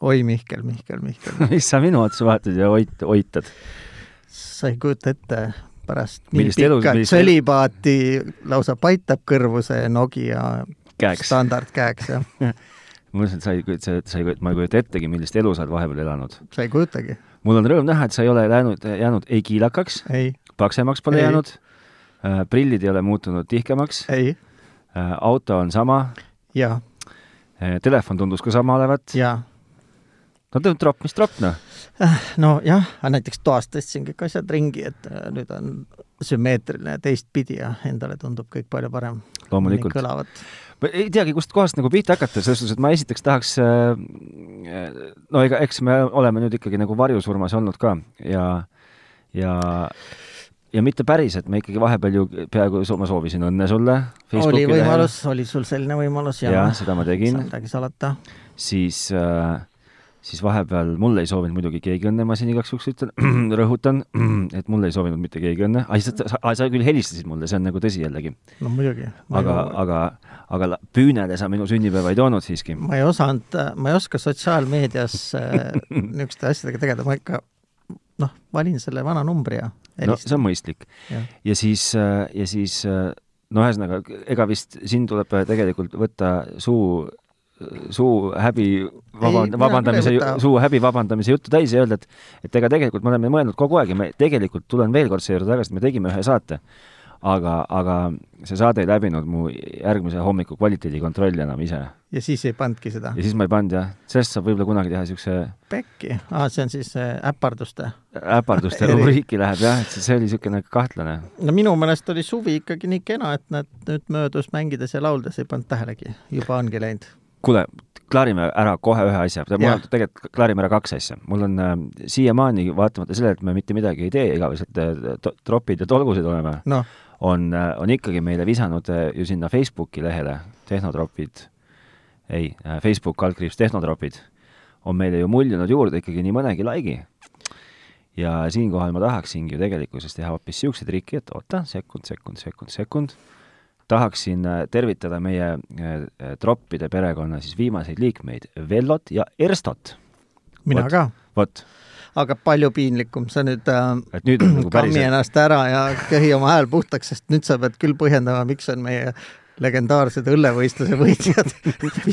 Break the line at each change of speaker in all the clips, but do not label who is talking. oi Mihkel, Mihkel, Mihkel
mis sa minu otsa vaatad ja hoit- , hoitad ?
sa ei kujuta ette pärast nii
Millist elu-
pikat
millist-
sõlipaati lausa paitab kõrvu see Nokia
käeks .
standardkäeks ja
ma mõtlesin , et sa ei kujuta , sa ei kujuta , ma ei kujuta ettegi , millist elu sa oled vahepeal elanud .
sa ei kujutagi ,
mul on rõõm näha , et sa ei ole läinud , jäänud ei kiilakaks ,
ei ,
paksemaks pole
Ei.
jäänud , prillid ei ole muutunud tihkemaks ,
ei
auto on sama ,
ja ,
telefon tundus ka sama olevat .
ja
no ta on tropp , mis tropp noh .
nojah , Äh, aga näiteks toas tõstsin kõik asjad ringi , et äh, nüüd on sümmeetriline teistpidi ja endale tundub kõik palju parem .
loomulikult .
kõlavat .
ma ei teagi , kust kohast nagu pihta hakata , selles suhtes , et ma esiteks tahaks äh, , no ega eks me oleme nüüd ikkagi nagu varjusurmas olnud ka ja , ja , ja mitte päris , et me ikkagi vahepeal ju peaaegu , ma soovisin õnne sulle .
oli võimalus , oli sul selline võimalus ja,
jaa , seda ma
ei
tegin
saa , midagi salata .
siis äh, siis vahepeal mulle ei soovinud muidugi keegi õnne , ma siin igaks juhuks ütlen , rõhutan , et mulle ei soovinud mitte keegi õnne , sa, sa küll helistasid mulle , see on nagu tõsi jällegi ,
no muidugi .
aga , aga , aga la- püünele sa minu sünnipäeva ei toonud siiski .
ma ei osanud , ma ei oska sotsiaalmeedias äh, niisuguste asjadega tegeleda , ma ikka noh , valin selle vana numbri ja
no see
helistan
on mõistlik .
Jah.
ja siis , ja siis äh, no ühesõnaga , ega vist siin tuleb äh, tegelikult võtta suu , suu häbi
mina
vaband- , vabandamise
küll ei võta. ,
suu häbi vabandamise juttu täis ja öelda , et et ega tegelikult me oleme mõelnud kogu aeg ja me tegelikult tulen veel kord selle juurde tagasi , et me tegime ühe saate , aga , aga see saade ei läbinud mu järgmise hommiku kvaliteedikontrolli enam ise ja
ja siis ei pannudki seda
siis ma ei pannud jah , sellest saab võib-olla kunagi teha niisuguse
pekki ah, . see on siis äh, äparduste .
äparduste
Eri-
rubriiki läheb jah , et see see oli niisugune kahtlane
no minu meelest oli suvi ikkagi nii kena , et nad nüüd möödus mängides ja lauldes ei pannud tähelegi , juba ongi läinud .
kuule , klaarime ära kohe ühe asja , mul
Jah.
on tegelikult , klaarime ära kaks asja , mul on äh, siiamaani vaatamata sellele , et me mitte midagi ei tee , igavesed äh, to- tropid ja tolgused oleme ,
noh ,
on , on ikkagi meile visanud äh, ju sinna Facebooki lehele tehnotropid , ei , Facebook algkriips Tehnotropid on meile ju muljunud juurde ikkagi nii mõnegi like'i . ja siinkohal ma tahaksingi ju tegelikkuses teha hoopis niisuguseid riike , et oota , sekund , sekund , sekund , sekund , tahaksin äh, tervitada meie äh, äh, troppide perekonna siis viimaseid liikmeid , Vellot ja Erstot .
mina
Vot.
What? ka ,
vot ,
aga palju piinlikum , sa nüüd äh,
et nüüd on nagu
kammi
päriselt ,
ennast ära ja köhi oma hääl puhtaks , sest nüüd sa pead küll põhjendama , miks on meie legendaarsed õllevõistluse võitjad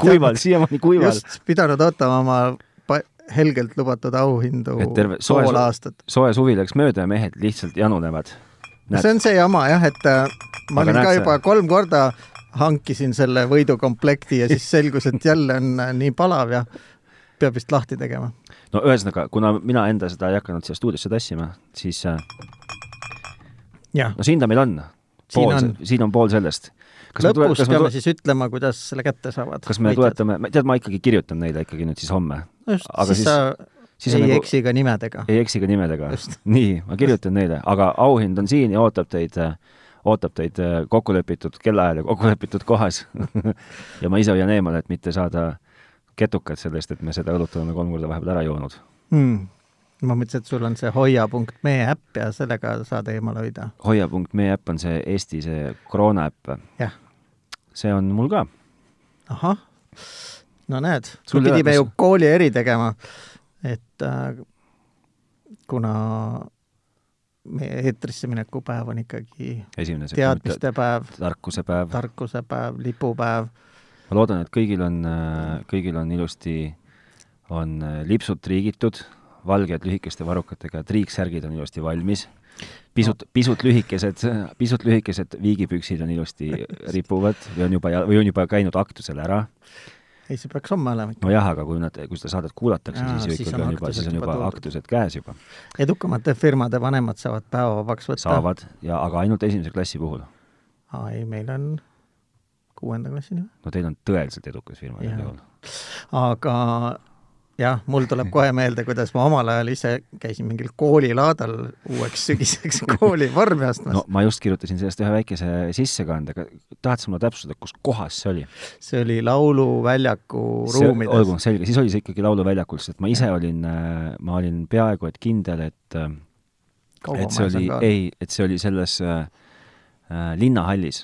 kuival , siiamaani kuival .
just pidanud ootama oma pa- helgelt lubatud auhindu
Et terve- soe-
pool aastat .
soe suvi läks mööda ja mehed lihtsalt janunevad . näed.
see on see jama jah , et äh, ma
Aga
olin ka
näed sa-
juba kolm korda hankisin selle võidukomplekti ja siis selgus , et jälle on äh, nii palav ja peab vist lahti tegema .
no ühesõnaga , kuna mina enda seda ei hakanud siia stuudiosse tassima , siis äh,
jah ,
no siin ta meil on .
Siin on.
siin on pool sellest .
lõpus peame siis ütlema , kuidas selle kätte saavad .
kas me tuletame , tead , ma ikkagi kirjutan neile ikkagi nüüd siis homme ,
just ,
aga
siis
siis-
sa
siis
ei
on nagu-
eksi ka nimedega .
ei eksi ka nimedega
Just. .
nii , ma kirjutan neile , aga auhind on siin ja ootab teid , ootab teid äh, kokkulepitud kellaajal ja kokkulepitud kohas . ja ma ise hoian eemale , et mitte saada ketukad sellest , et me seda õlut oleme kolm korda vahepeal ära joonud .
hmm. . ma mõtlesin , et sul on see hoia.me äpp ja sellega saad eemale hoida .
hoia.me äpp on see Eesti see koroona äpp ,
jah ,
see on mul ka
ahah . no näed ,
Sul
me
ei ole-
pidime ju kooli eri tegema , et äh, kuna meie eetrisse mineku päev on ikkagi
esimene sekund ,
teadmistepäev ,
tarkuse päev .
tarkusepäev , lipupäev ,
ma loodan , et kõigil on , kõigil on ilusti , on äh, lipsud triigitud , valged lühikeste varrukatega triiksärgid on ilusti valmis , pisut , pisut lühikesed , pisut lühikesed viigipüksid on ilusti äh, ripuvad või on juba , või on juba käinud aktusel ära .
ei see peaks homme olema ikka .
nojah , aga kui nad , kui seda saadet kuulatakse ,
Aa,
siis ju
siis
ikkagi
on
on juba ,
aktused
siis on
juba
juba
toodud.
aktused käes juba ,
edukamate firmade vanemad saavad päevavabaks võtta .
saavad ja , aga ainult esimese klassi puhul .
aa ei , meil on kuuenda klassini või ?
no teil on tõeliselt edukas firma
Jaa.
sel juhul .
aga jah , mul tuleb kohe meelde , kuidas ma omal ajal ise käisin mingil koolilaadal uueks sügiseks kooli vormi ostmas
no
no. .
ma just kirjutasin sellest ühe väikese sissekande , aga tahad sa mulle täpsustada , kus kohas see oli ?
see oli Lauluväljaku ruumides .
olgu , selge , siis oli see ikkagi lauluväljakul , sest ma ise olin , ma olin peaaegu et kindel , et , et see oli , ei , et see oli selles äh, äh, linnahallis .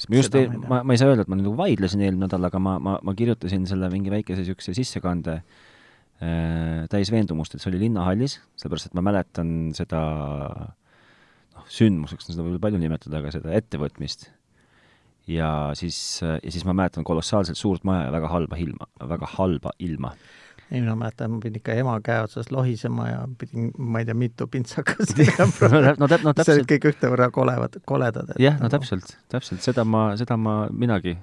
sest ma just
Seda
ei
ma ei , tea.
ma , ma ei saa öelda , et ma nagu vaidlesin eelmine nädal , aga ma , ma , ma kirjutasin selle mingi väikese niisuguse sissekande äh, täis veendumust , et see oli Linnahallis , sellepärast et ma mäletan seda noh , sündmuseks on seda võib-olla palju nimetada , aga seda ettevõtmist . ja siis , ja siis ma mäletan kolossaalselt suurt maja ja väga halba ilma , väga halba ilma .
ei , mina mäletan , ma pidin ikka ema käe otsas lohisema ja pidin , ma ei tea , mitu pintsakast tegema .
no täp- , no
see olid
täpselt ,
kõik ühtevõrra kolevad , koledad .
jah , no . täpselt , täpselt seda ma , seda ma , minagi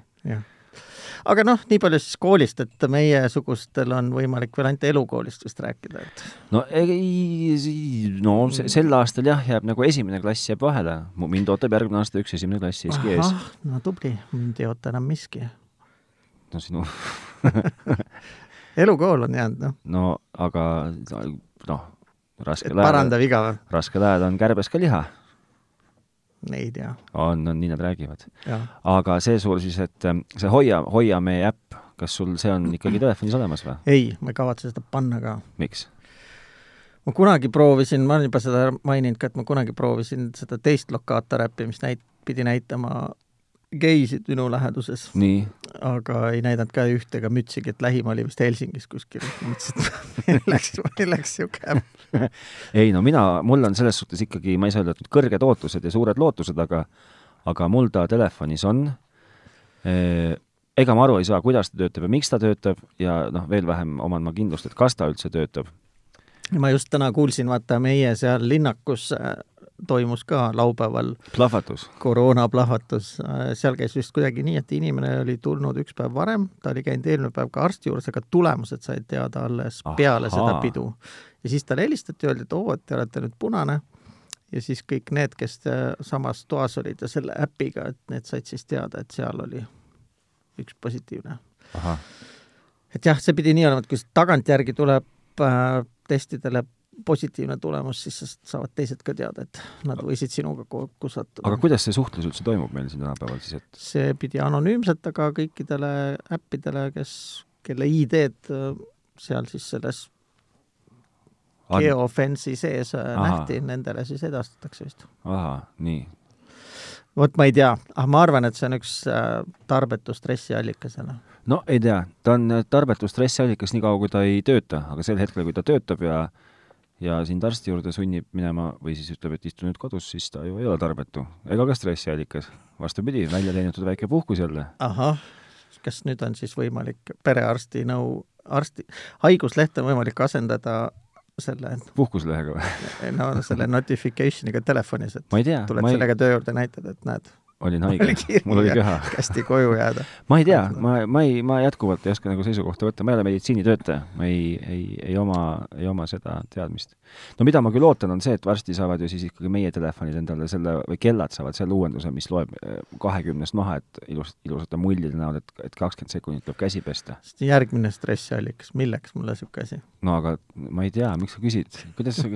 aga noh , nii palju siis koolist , et meiesugustel on võimalik veel ainult elukoolist vist rääkida , et
no ei , no
Mm.
se- sel aastal jah , jääb nagu esimene klass jääb vahele , mind ootab järgmine aasta üks esimene klass siiski ees .
ahah , no tubli , mind ei oota enam miski .
no sinu ,
elukool on jäänud , noh ,
no aga noh ,
et
raskel ajal ,
parandav iga või ?
raskel ajal on kärbes ka liha ,
ei tea ,
on , on nii nad räägivad .
jah .
aga see sul siis , et ähm, see Hoia , Hoia meie äpp , kas sul see on ikkagi telefonis olemas või ,
ei , ma ei kavatse seda panna ka .
miks ?
ma kunagi proovisin , ma olen juba seda maininud ka , et ma kunagi proovisin seda teist lokaator äppi , mis näit- , pidi näitama geisid minu läheduses ,
nii ,
aga ei näidanud ka ühte ega mütsigi , et lähim oli vist Helsingis kuskil . mõtlesin , et milleks , milleks siuke äpp .
ei no mina , mul on selles suhtes ikkagi , ma ei saa öelda , et nüüd kõrged ootused ja suured lootused , aga , aga mul ta telefonis on . ega ma aru ei saa , kuidas ta töötab ja miks ta töötab ja noh , veel vähem oman ma kindlust , et kas ta üldse töötab .
ma just täna kuulsin , vaata meie seal linnakus äh, toimus ka laupäeval
plahvatus .
koroonaplahvatus , äh, seal käis vist kuidagi nii , et inimene oli tulnud üks päev varem , ta oli käinud eelmine päev ka arsti juures , aga tulemused said teada alles peale
Ahaa.
Ahaa. seda pidu . ja siis talle helistati , öeldi , et oo , et te olete nüüd punane . ja siis kõik need , kes äh, samas toas olid ja selle äpiga , et need said siis teada , et seal oli üks positiivne . et jah , see pidi nii olema , et kui s- tagantjärgi tuleb äh, testidele positiivne tulemus , siis sest saavad teised ka teada , et nad võisid sinuga kokku sattuda
aga kuidas see suhtlus üldse toimub meil siin tänapäeval siis , et
see pidi anonüümselt , aga kõikidele äppidele , kes , kelle ID-d äh, seal siis selles
An-
geofence'i sees äh,
Ahah.
nähti , nendele siis edastatakse vist .
ahaa , nii ,
vot ma ei tea , ah ma arvan , et see on üks äh, tarbetu stressiallikas noh. jälle .
no ei tea , ta on äh, tarbetu stressiallikas nii kaua , kui ta ei tööta , aga sel hetkel , kui ta töötab ja ja sind arsti juurde sunnib minema või siis ütleb , et istu nüüd kodus , siis ta ju ei ole tarbetu ega ka stressiallikas . vastupidi , välja teenitud väike puhkus jälle .
ahah , kas nüüd on siis võimalik perearsti nõu , arsti , haiguslehte on võimalik asendada selle ,
puhkuslehega või ?
no selle notification'iga telefonis , et
ma ei tea ,
tuled
ma ei ,
sellega töö juurde , näitad , et näed ,
olin
oli
haige
kiri ,
mul oli
ja-
köha .
hästi koju jääda .
ma ei tea , ma , ma ei , ma jätkuvalt ei oska nagu seisukohta võtta , ma ei ole meditsiinitöötaja , ma ei , ei , ei oma , ei oma seda teadmist . no mida ma küll ootan , on see , et varsti saavad ju siis ikkagi meie telefonid endale selle või kellad saavad selle uuenduse , mis loeb eh, kahekümnest maha , et ilus , ilusate mullide näol , et , et kakskümmend sekundit tuleb käsi pesta .
sest järgmine stressiallikas , milleks mulle niisugune asi ?
no aga ma ei tea , miks sa küsid , kuidas sa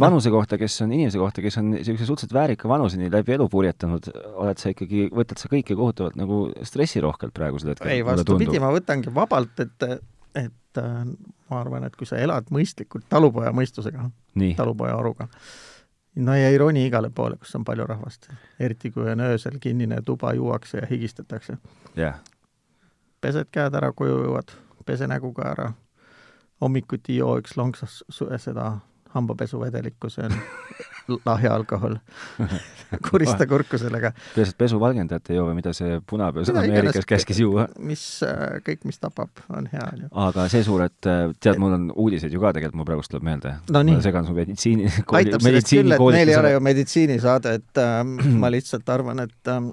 vanuse kohta , kes on , inimese kohta , kes on niisuguse suhteliselt väärika vanuseni läbi elu purjetanud , oled sa ikkagi , võtad sa kõike kohutavalt nagu stressirohkelt praegusel hetkel ?
ei , vastupidi , ma võtangi vabalt , et , et äh, ma arvan , et kui sa elad mõistlikult talupoja mõistusega ,
nii ,
talupoja aruga , no ja ei roni igale poole , kus on palju rahvast , eriti kui on öösel kinnine tuba , juuakse ja higistatakse .
jah
pesed käed ära , koju jõuad , pese nägu ka ära , hommikuti joo üks lonksas su- seda hambapesuvedelikku , see on lahja alkohol . kurista kurku sellega ,
peaasi , et pesuvalgendajat ei joo või mida see punapeos
Mida
Ameerikas
iganes-
käskis juua .
mis äh, kõik , mis tapab , on hea , on ju .
aga see suur , et äh, tead , mul on uudiseid ju ka tegelikult , mul praegust tuleb meelde .
No nii.
ma segan su meditsiini ,
aitab sellest küll , et meil ei ole
meditsiinikoolituse .
ju meditsiinisaade , et äh, ma lihtsalt arvan , et äh,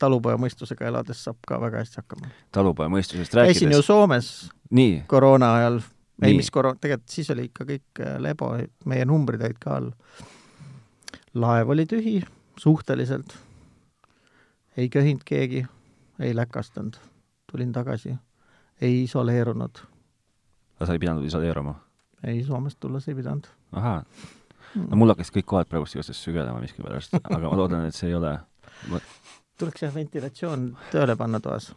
talupoja mõistusega elades saab ka väga hästi hakkama .
talupoja mõistusest
käisin ju
rääkides . Soome
Soomes
nii ,
koroona ajal , ei
Nii.
mis koroona , tegelikult siis oli ikka kõik äh, lebo , meie numbrid olid ka all . laev oli tühi suhteliselt , ei köhinud keegi , ei läkastanud , tulin tagasi , ei isoleerunud ,
aga sa ei pidanud isoleeruma ?
ei Soomest tulles ei pidanud .
ahaa , no mul hakkasid kõik kohad praegust igatahes sügelema miskipärast , aga ma loodan , et see ei ole .
tuleks jah ventilatsioon tööle panna toas .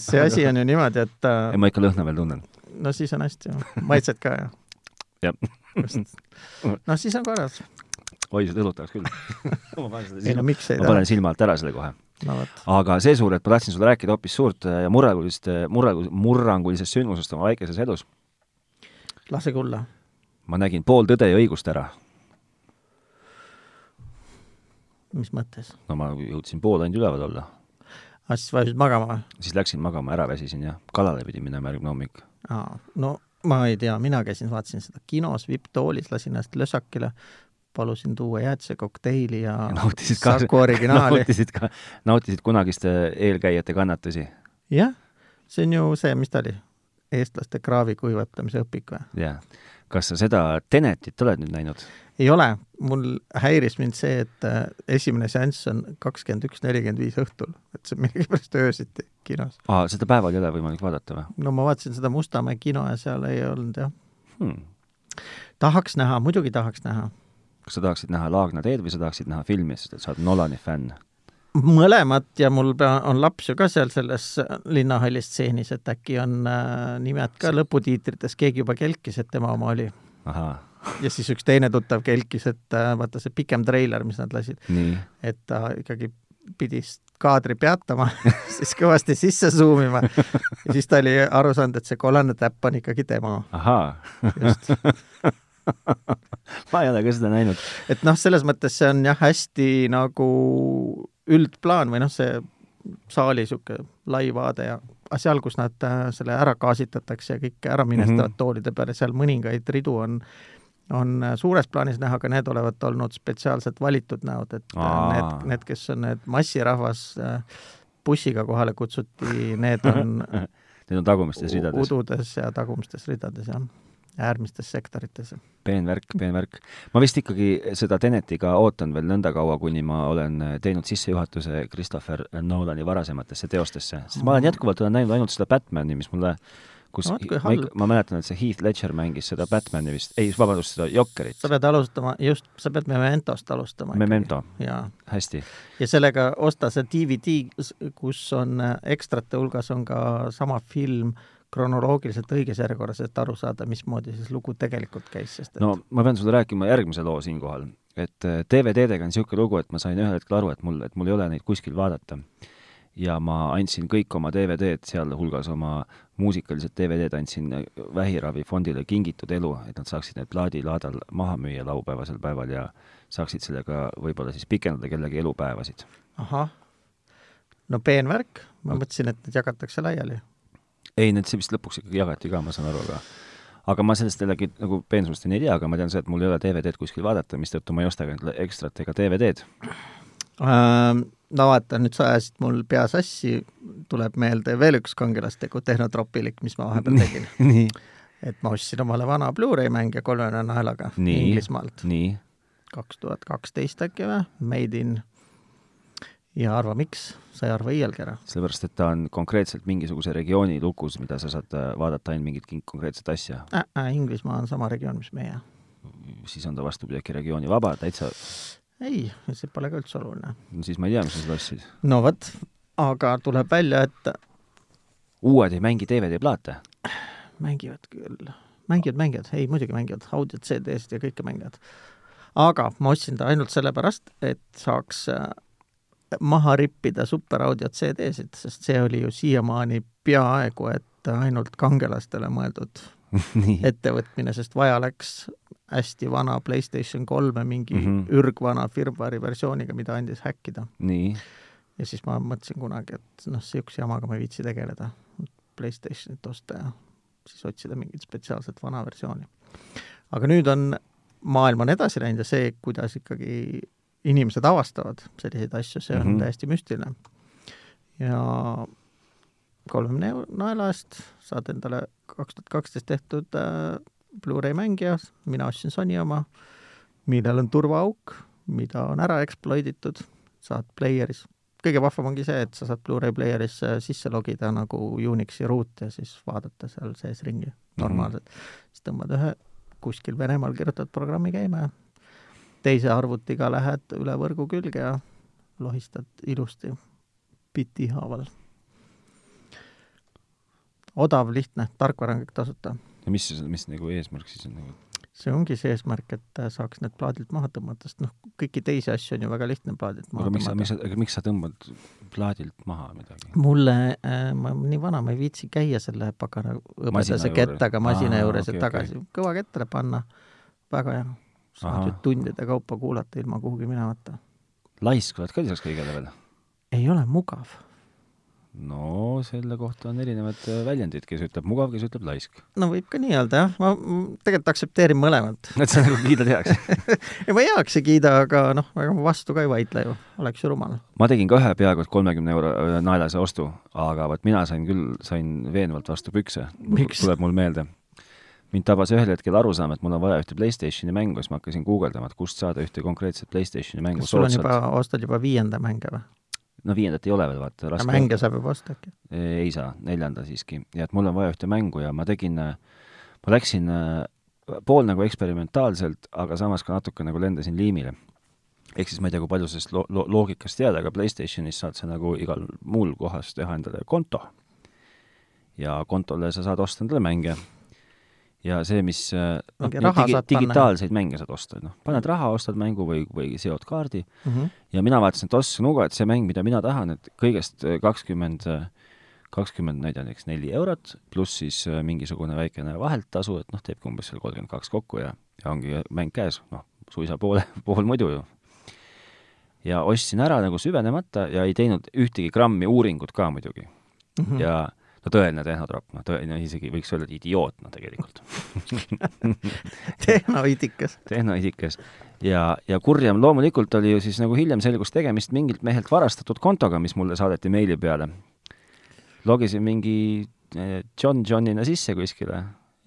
see asi on ju niimoodi , et äh,
ei , ma ikka lõhna veel tunnen .
no siis on hästi , maitsed ka ju .
Jah. .
no siis on korras .
oi , seda õlut tahaks küll . ma panen selle
ei no
silma-
miks ei
ma
taha
panen , silma alt ära selle kohe .
no vot ,
aga see suur , et ma tahtsin sulle rääkida hoopis suurt äh, ja murrangulist , murrangu- , murrangulisest sündmusest oma väikeses elus .
lase kulla .
ma nägin pool tõde ja õigust ära .
mis mõttes ?
no ma jõudsin pool ainult üleval olla .
aa , siis vajusid magama või ?
siis läksin magama , ära väsisin ja kalale pidin minema järgmine hommik .
aa , no ma ei tea , mina käisin , vaatasin seda kinos vipptoolis , lasin ennast lösakile , palusin tuua jäätisekokteili ja
nautisid ka ,
Ah, Saku originaali .
nautisid ka , nautisid kunagiste eelkäijate kannatusi .
jah , see on ju see , mis ta oli , eestlaste kraavi kuivatamise õpik või ?
jah . kas sa seda Tenetit oled nüüd näinud ?
ei ole , mul häiris mind see , et äh, esimene seanss on kakskümmend üks nelikümmend viis õhtul , et see on millegipärast öösiti kinos .
aa , seda päeval ei ole võimalik vaadata või
no ma vaatasin seda Mustamäe kino ja seal ei olnud jah .
hmm. ?
tahaks näha , muidugi tahaks näha .
kas sa tahaksid näha Laagna teed või sa tahaksid näha filmi , sest et sa oled Nolani fänn ?
mõlemat ja mul pea- on laps ju ka seal selles linnahallis stseenis , et äkki on äh, nimed ka lõputiitrites , keegi juba kelkis , et tema oma oli .
ahaa ,
ja siis üks teine tuttav kelkis , et äh, vaata see pikem treiler , mis nad lasid ,
nii .
et ta ikkagi pidi s- kaadri peatama , siis kõvasti sisse suumima ja siis ta oli aru saanud , et see kollane täpp on ikkagi tema .
ahaa
Just. ,
ma ei ole ka seda näinud .
et noh , selles mõttes see on jah , hästi nagu üldplaan või noh , see saali niisugune lai vaade ja aga seal , kus nad äh, selle ära gaasitatakse ja kõik ära minestavad mm
Mhm.
-hmm. toolide peale , seal mõningaid ridu on , on äh, suures plaanis näha , aga need olevat olnud spetsiaalselt valitud näod , et äh,
Aa.
need , need , kes on need massirahvas , bussiga kohale kutsuti , need on
Need on tagumistes ridades .
ududes ja tagumistes ridades jah , äärmistes sektorites .
peen värk , peen värk . ma vist ikkagi seda Tenetiga ootan veel nõnda kaua , kuni ma olen äh, teinud sissejuhatuse Christopher Nolani varasematesse teostesse , sest ma olen jätkuvalt , olen näinud ainult seda Batman'i , mis mulle kus
No vot, kui
ma,
halb.
ikka- ma mäletan , et see Heath Ledger mängis seda Batman'i vist , ei , vabandust , seda Jokkerit
sa , pead alustama , just , sa pead Mementost alustama .
Memento ,
jaa ,
hästi .
ja sellega osta see DVD , kus on äh, ekstrate hulgas on ka sama film kronoloogiliselt õiges järjekorras , et aru saada , mismoodi siis lugu tegelikult käis , sest et
no ma pean sulle rääkima järgmise loo siinkohal , et eh, DVD-dega on niisugune lugu , et ma sain ühel hetkel aru , et mul , et mul ei ole neid kuskil vaadata . ja ma andsin kõik oma DVD-d , sealhulgas oma muusikalised DVD-d andsin vähiravifondile Kingitud elu , et nad saaksid need plaadilaadal maha müüa laupäevasel päeval ja saaksid sellega võib-olla siis pikendada kellegi elupäevasid .
ahah , no peen värk , ma mõtlesin , et need jagatakse laiali .
ei , need see vist lõpuks ikkagi jagati ka , ma saan aru , aga aga ma sellest jällegi nagu peensusteni ei tea , aga ma tean seda , et mul ei ole DVD-d kuskil vaadata , mistõttu ma ei osta ka endale ekstrat ega DVD-d . Ähm,
No vaata , nüüd sa ajasid mul pea sassi , tuleb meelde veel üks kangelastegu tehnotropilik , mis ma vahepeal tegin .
nii .
et ma ostsin omale vana Blu-ray mängija kolmene naelaga
Nii.
Inglismaalt .
nii ,
kaks tuhat kaksteist äkki või , Made in ja arva miks , sa ei arva iialgi ära .
sellepärast et ta on konkreetselt mingisuguse regiooni lukus , mida sa saad äh, vaadata ainult mingit kin- konkreetset asja ,
Äh, Inglismaa on sama regioon , mis meie .
siis on ta vastupidi äkki regiooni vaba , täitsa ,
ei , see pole ka üldse oluline .
siis ma ei tea , mis sa seda ostsid .
no vot , aga tuleb välja , et
uued ei mängi DVD-plaate ,
mängivad küll , mängivad , mängivad , ei muidugi mängivad , audiod , CD-sid ja kõike mängivad . aga ma ostsin ta ainult sellepärast , et saaks äh, maha rippida superaudiod CD-sid , sest see oli ju siiamaani peaaegu et ainult kangelastele mõeldud
nii ,
ettevõtmine , sest vaja läks hästi vana Playstation kolme mingi mm
Mhm.
-hmm. ürgvana firmware'i versiooniga , mida andis häkkida .
nii ,
ja siis ma mõtlesin kunagi , et noh , niisuguse jamaga ma ei viitsi tegeleda , Playstationit osta ja siis otsida mingit spetsiaalset vana versiooni . aga nüüd on , maailm on edasi läinud ja see , kuidas ikkagi inimesed avastavad selliseid asju , see on mm
Mhm.
-hmm. täiesti müstiline . ja kolmekümne eu- naela eest saad endale kaks tuhat kaksteist tehtud äh, Blu-ray mängija , mina ostsin Sony oma , millel on turvaauk , mida on ära eksploiditud , saad player'is , kõige vahvam ongi see , et sa saad Blu-ray player'isse sisse logida nagu Unixi ruut ja siis vaadata seal sees ringi normaalselt mm . -hmm. siis tõmbad ühe kuskil Venemaal kirjutad programmi käima ja teise arvutiga lähed üle võrgu külge ja lohistad ilusti biti haaval . odav , lihtne , tarkvara on kõik tasuta .
ja mis , mis nagu eesmärk siis on nagu ,
see ongi see eesmärk, et saaks need plaadilt maha tõmmata, sest noh, kõiki teisi asju on ju väga lihtne plaadilt maha
aga miks sa, miks
tõmmata .
sa , aga miks sa tõmbad plaadilt maha midagi ?
mulle äh, , ma olen nii vana , ma ei viitsi käia selle pagana hõbedase
juures.
kettaga masina
Aa,
juures ja
okei,
okay, tagasi okay. kõva kettale panna , väga hea . saad
Ahah.
ju tundide kaupa kuulata ilma kuhugi minemata .
laisk oled ka lisaks kõigele veel ?
ei ole mugav
no selle kohta on erinevad äh, väljendid , kes ütleb mugav , kes ütleb laisk .
no võib ka nii öelda jah , ma m- tegelikult aktsepteerin mõlemat .
et sa nagu kiidad heaks .
ei , ma ei heaks ei kiida , aga noh , ega ma vastu ka ei vaidle ju , oleks ju rumal .
ma tegin ka ühe peaaegu et kolmekümne euro äh, naelase ostu , aga vot mina sain küll , sain veenvalt vastu pükse .
Miks?
tuleb mul meelde . mind tabas ühel hetkel arusaam , et mul on vaja ühte Playstationi mängu , siis ma hakkasin guugeldama , et kust saada ühte konkreetset Playstationi mängu
kas sul on
soodsalt
juba , ostad juba viienda mänge või ?
no viiendat ei ole veel , vaata , raske .
mänge saab juba osta äkki ?
ei saa , neljanda siiski , ja et mul on vaja ühte mängu ja ma tegin , ma läksin äh, pool nagu eksperimentaalselt , aga samas ka natuke nagu lendasin liimile . ehk siis ma ei tea , kui palju sellest lo- , lo- , loogikast teada , aga PlayStationis saad sa nagu igal muul kohas teha endale konto . ja kontole sa saad osta endale mänge . ja see , mis äh, noh ,
Mingi raha saad panna.
digitaalseid mänge saad osta , noh , paned raha , ostad mängu või , või seod kaardi ja mina vaatasin , et Oss Nuga , et see mäng , mida mina tahan , et kõigest äh, kakskümmend , kakskümmend , ma ei tea , näiteks neli eurot , pluss siis äh, mingisugune väikene vaheltasu , et noh , teebki umbes seal kolmkümmend kaks kokku ja , ja ongi mäng käes , noh , suisa poole , pool muidu ju . ja ostsin ära nagu süvenemata ja ei teinud ühtegi grammi uuringut ka muidugi . ja no tõeline tehnotropp , noh , tõeline isegi võiks öelda , et idioot , noh , tegelikult .
tehnoidikas .
tehnoisikas ja , ja kurjam loomulikult oli ju siis nagu hiljem selgus tegemist mingilt mehelt varastatud kontoga , mis mulle saadeti meili peale . logisin mingi eh, John Johnina sisse kuskile ja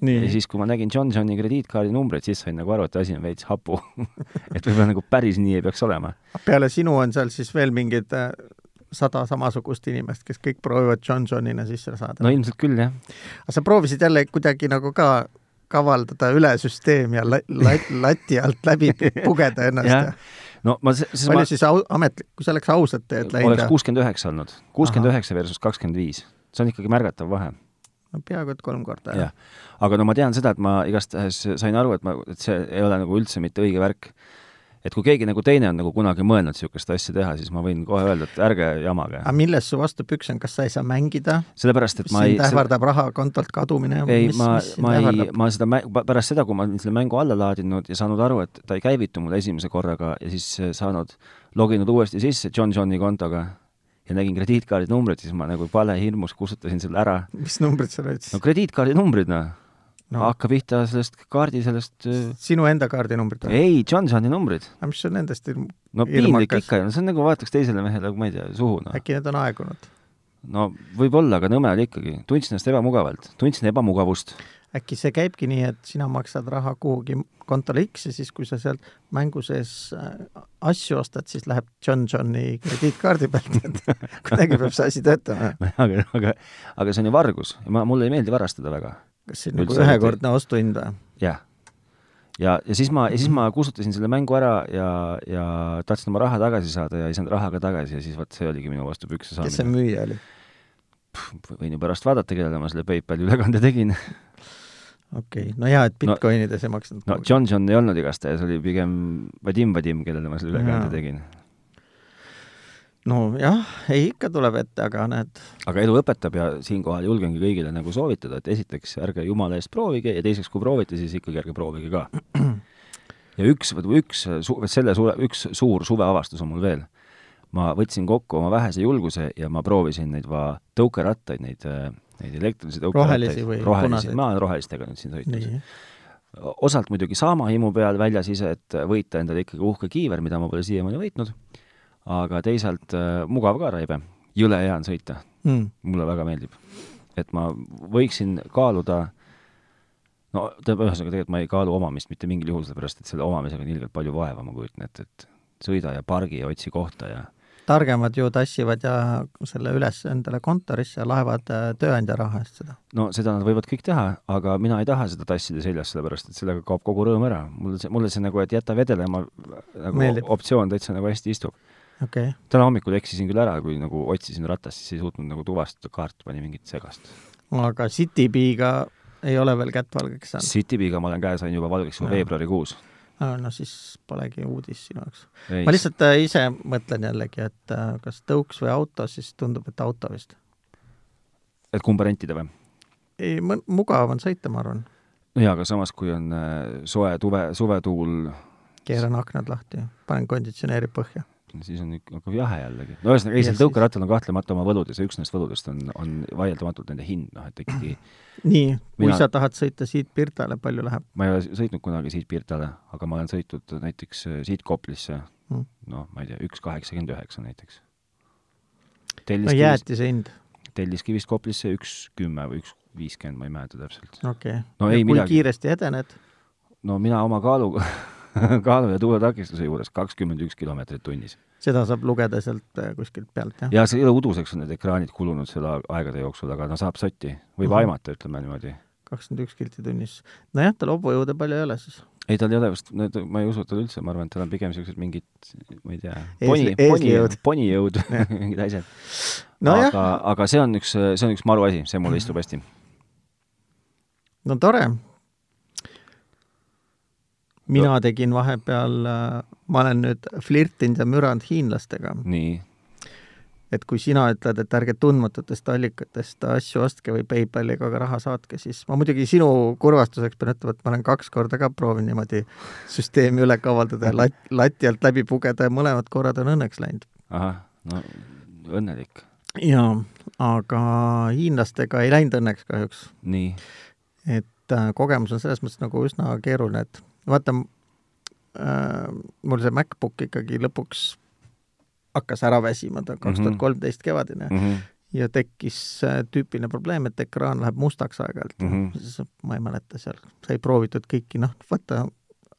nii ,
siis , kui ma nägin John Johni krediitkaardi numbreid , siis sain nagu aru , et asi on veits hapu . et võib-olla nagu päris nii ei peaks olema .
peale sinu on seal siis veel mingid äh, sada samasugust inimest , kes kõik proovivad John Johnina sisse saada
no
no. .
ilmselt küll jah .
aga sa proovisid jälle kuidagi nagu ka kavaldada üle süsteemi ja la- , la- , lati alt läbi pugeda ennast ja,
jah
ja. .,
no ma , siis ma
Noh, palju siis au- , ametlik , kui sa oleks ausalt teed läinud
oleks
ja
kuuskümmend üheksa olnud , kuuskümmend üheksa versus kakskümmend viis , see on ikkagi märgatav vahe
No peaaegu et kolm korda
jah , aga no ma tean seda , et ma igastahes sain aru , et ma , et see ei ole nagu üldse mitte õige värk . et kui keegi nagu teine on nagu kunagi mõelnud niisugust asja teha , siis ma võin kohe öelda , et ärge jamage .
aga milles su vastupüks on , kas sa ei saa mängida ,
sellepärast , et
mis
ma ei
sind , ähvardab raha kontolt kadumine
ei ,
mis,
ma
mis , sind
ma ei
ähvardab ?,
ma seda mä- , pärast seda , kui ma olin selle mängu alla laadinud ja saanud aru , et ta ei käivitu mul esimese korraga ja siis eh, saanud , loginud uuesti sisse John Johni kontoga ja nägin krediitkaardi numbrit , siis ma nagu palehirmus kustutasin selle ära .
mis numbrid seal olid siis
no ? krediitkaardi numbrid , noh .
No.
hakka pihta sellest kaardi , sellest eh, öö,
sinu enda kaardinumbrid või ?
ei , Johnsoni numbrid .
aga mis on nendest hirm-
no piinlik
Hirmukas.
ikka ju , no see on nagu vaataks teisele mehele , ma ei tea , suhu noh .
äkki need on aegunud ?
no võib-olla , aga nõme oli ikkagi . tundsin ennast ebamugavalt , tundsin ebamugavust .
äkki see käibki nii , et sina maksad raha kuhugi kontole X ja siis , kui sa sealt mängu sees äh, asju ostad , siis läheb John Johni krediitkaardi pealt , et kuidagi peab see asi töötama .
aga , aga , aga see on ju vargus ja ma , mulle ei meeldi varastada väga .
kas see on nagu
Üldse
ühekordne ostuhind või ?
jah . ja , ja siis ma , ja siis ma kustutasin selle mängu ära ja , ja tahtsin oma raha tagasi saada ja ei saanud raha ka tagasi ja siis vot see oligi minu vastu pükse
kes see
saamine .
müüja oli ?
võin ju pärast vaadata , kellele ma selle PayPali ülekande tegin .
okei okay. , no jaa , et
No-
Bitcoinides ei maksnud
no
kuhugi.
John John ei olnud igastahes , oli pigem Vadim Vadim , kellele ma selle ülekande
Jaa.
tegin .
nojah , ei ikka tuleb ette , aga näed ,
aga elu õpetab ja siinkohal julgengi kõigile nagu soovitada , et esiteks ärge jumala eest proovige ja teiseks , kui proovite , siis ikkagi ärge proovige ka . ja üks , üks su- , selle suve , üks suur suveavastus on mul veel . ma võtsin kokku oma vähese julguse ja ma proovisin neid va- , tõukerattaid , neid , neid elektrilisi
Rohelisi
tõukerattaid
või .
rohelisi ,
punaseid?
ma olen rohelistega nüüd siin sõitnud .
nii .
osalt muidugi sama himu peal väljas ise , et võita endale ikkagi uhke kiiver , mida ma pole siiamaani võitnud , aga teisalt äh, mugav ka raive , jõle hea on sõita
Mm.
mulle väga meeldib . et ma võiksin kaaluda , no tähendab , ühesõnaga tegelikult ma ei kaalu omamist mitte mingil juhul , sellepärast et selle omamisega on ilgelt palju vaeva , ma kujutan ette , et sõida ja pargi ja otsi kohta ja
targemad ju tassivad ja selle üles endale kontorisse ja laevad äh, tööandja raha eest seda .
no seda nad võivad kõik teha , aga mina ei taha seda tassida seljas , sellepärast et sellega kaob kogu rõõm ära . mulle see , mulle see nagu , et jäta vedelema nagu
Meeldib.
Meeldib. optsioon täitsa nagu hästi istub .
okei okay. ,
täna hommikul eksisin küll ära , kui nagu otsisin ratast , siis ei suutnud nagu tuvastada , kaart pani mingit segast .
aga Citybee'ga ei ole veel kätt valgeks saanud ?
Citybiga ma olen käes, sain juba valgeks juba
Jaa.
veebruarikuus .
no siis polegi uudis sinu jaoks . ma lihtsalt äh, ise mõtlen jällegi , et äh, kas tõuks või auto , siis tundub , et auto vist .
et kumba rentida või ?
ei , mugav on sõita , ma arvan .
jaa , aga samas , kui on äh, soe tuve , suvetuul ,
keeran aknad lahti , panen konditsioneeri põhja .
siis on , hakkab jahe jällegi . no ühesõnaga , ei ,
Ja
sel
siis-
tõukerattal on kahtlemata oma võlud ja see üks nendest võludest on , on vaieldamatult nende hind , noh et ikkagi
nii , kui
Mina-
Mina... sa tahad sõita siit Pirtale , palju läheb ?
ma ei ole sõitnud kunagi siit Pirtale , aga ma olen sõitnud näiteks äh, siit Koplisse
Mm. ,
noh , ma ei tea , üks kaheksakümmend üheksa näiteks .
no
Telliskivist ,
jäätise hind ,
Telliskivist Koplisse üks kümme või üks viiskümmend , ma ei mäleta täpselt .
okei okay. .
No ei
kui
midagi.
kiiresti edened ,
no mina oma kaalu , kaalu ja tuuletakistuse juures kakskümmend üks kilomeetrit tunnis .
seda saab lugeda sealt äh, kuskilt pealt , jah ja. ?
ja see ei ole uduseks , on need ekraanid kulunud selle aegade jooksul , aga no saab sotti , võib
Mhm.
aimata , ütleme niimoodi .
kakskümmend üks kilti tunnis . nojah , tal hobujõude palju ei ole siis .
ei , tal ei ole vist , ma ei usu tal üldse , ma arvan , et tal on pigem niisugused mingid , ma ei tea ,
Eesli-
poni , poni
eeslijõud. ,
ponijõud , mingid asjad .
nojah ,
aga , aga see on üks , see on üks maru asi , see mulle istub hästi .
no tore . mina tegin vahepeal , ma olen nüüd flirtinud ja müranud hiinlastega ,
nii ,
et kui sina ütled , et ärge tundmatutest allikatest asju ostke või PayPaliga ka raha saatke , siis ma muidugi sinu kurvastuseks pean ütlema , et ma olen kaks korda ka proovinud niimoodi süsteemi üle kavaldada ja lat- , lati alt läbi pugeda ja mõlemad korrad on õnneks läinud .
ahah , no õnnelik ,
jaa , aga hiinlastega ei läinud õnneks kahjuks
nii ,
et äh, kogemus on selles mõttes nagu üsna keeruline , et vaata äh, , mul see MacBook ikkagi lõpuks hakkas ära väsima , ta kaks tuhat
Mhm.
kolmteist kevadine ja tekkis äh, tüüpiline probleem , et ekraan läheb mustaks aeg-ajalt mm .
Mhm.
-hmm. siis ma ei mäleta seal , sai proovitud kõiki , noh , vaata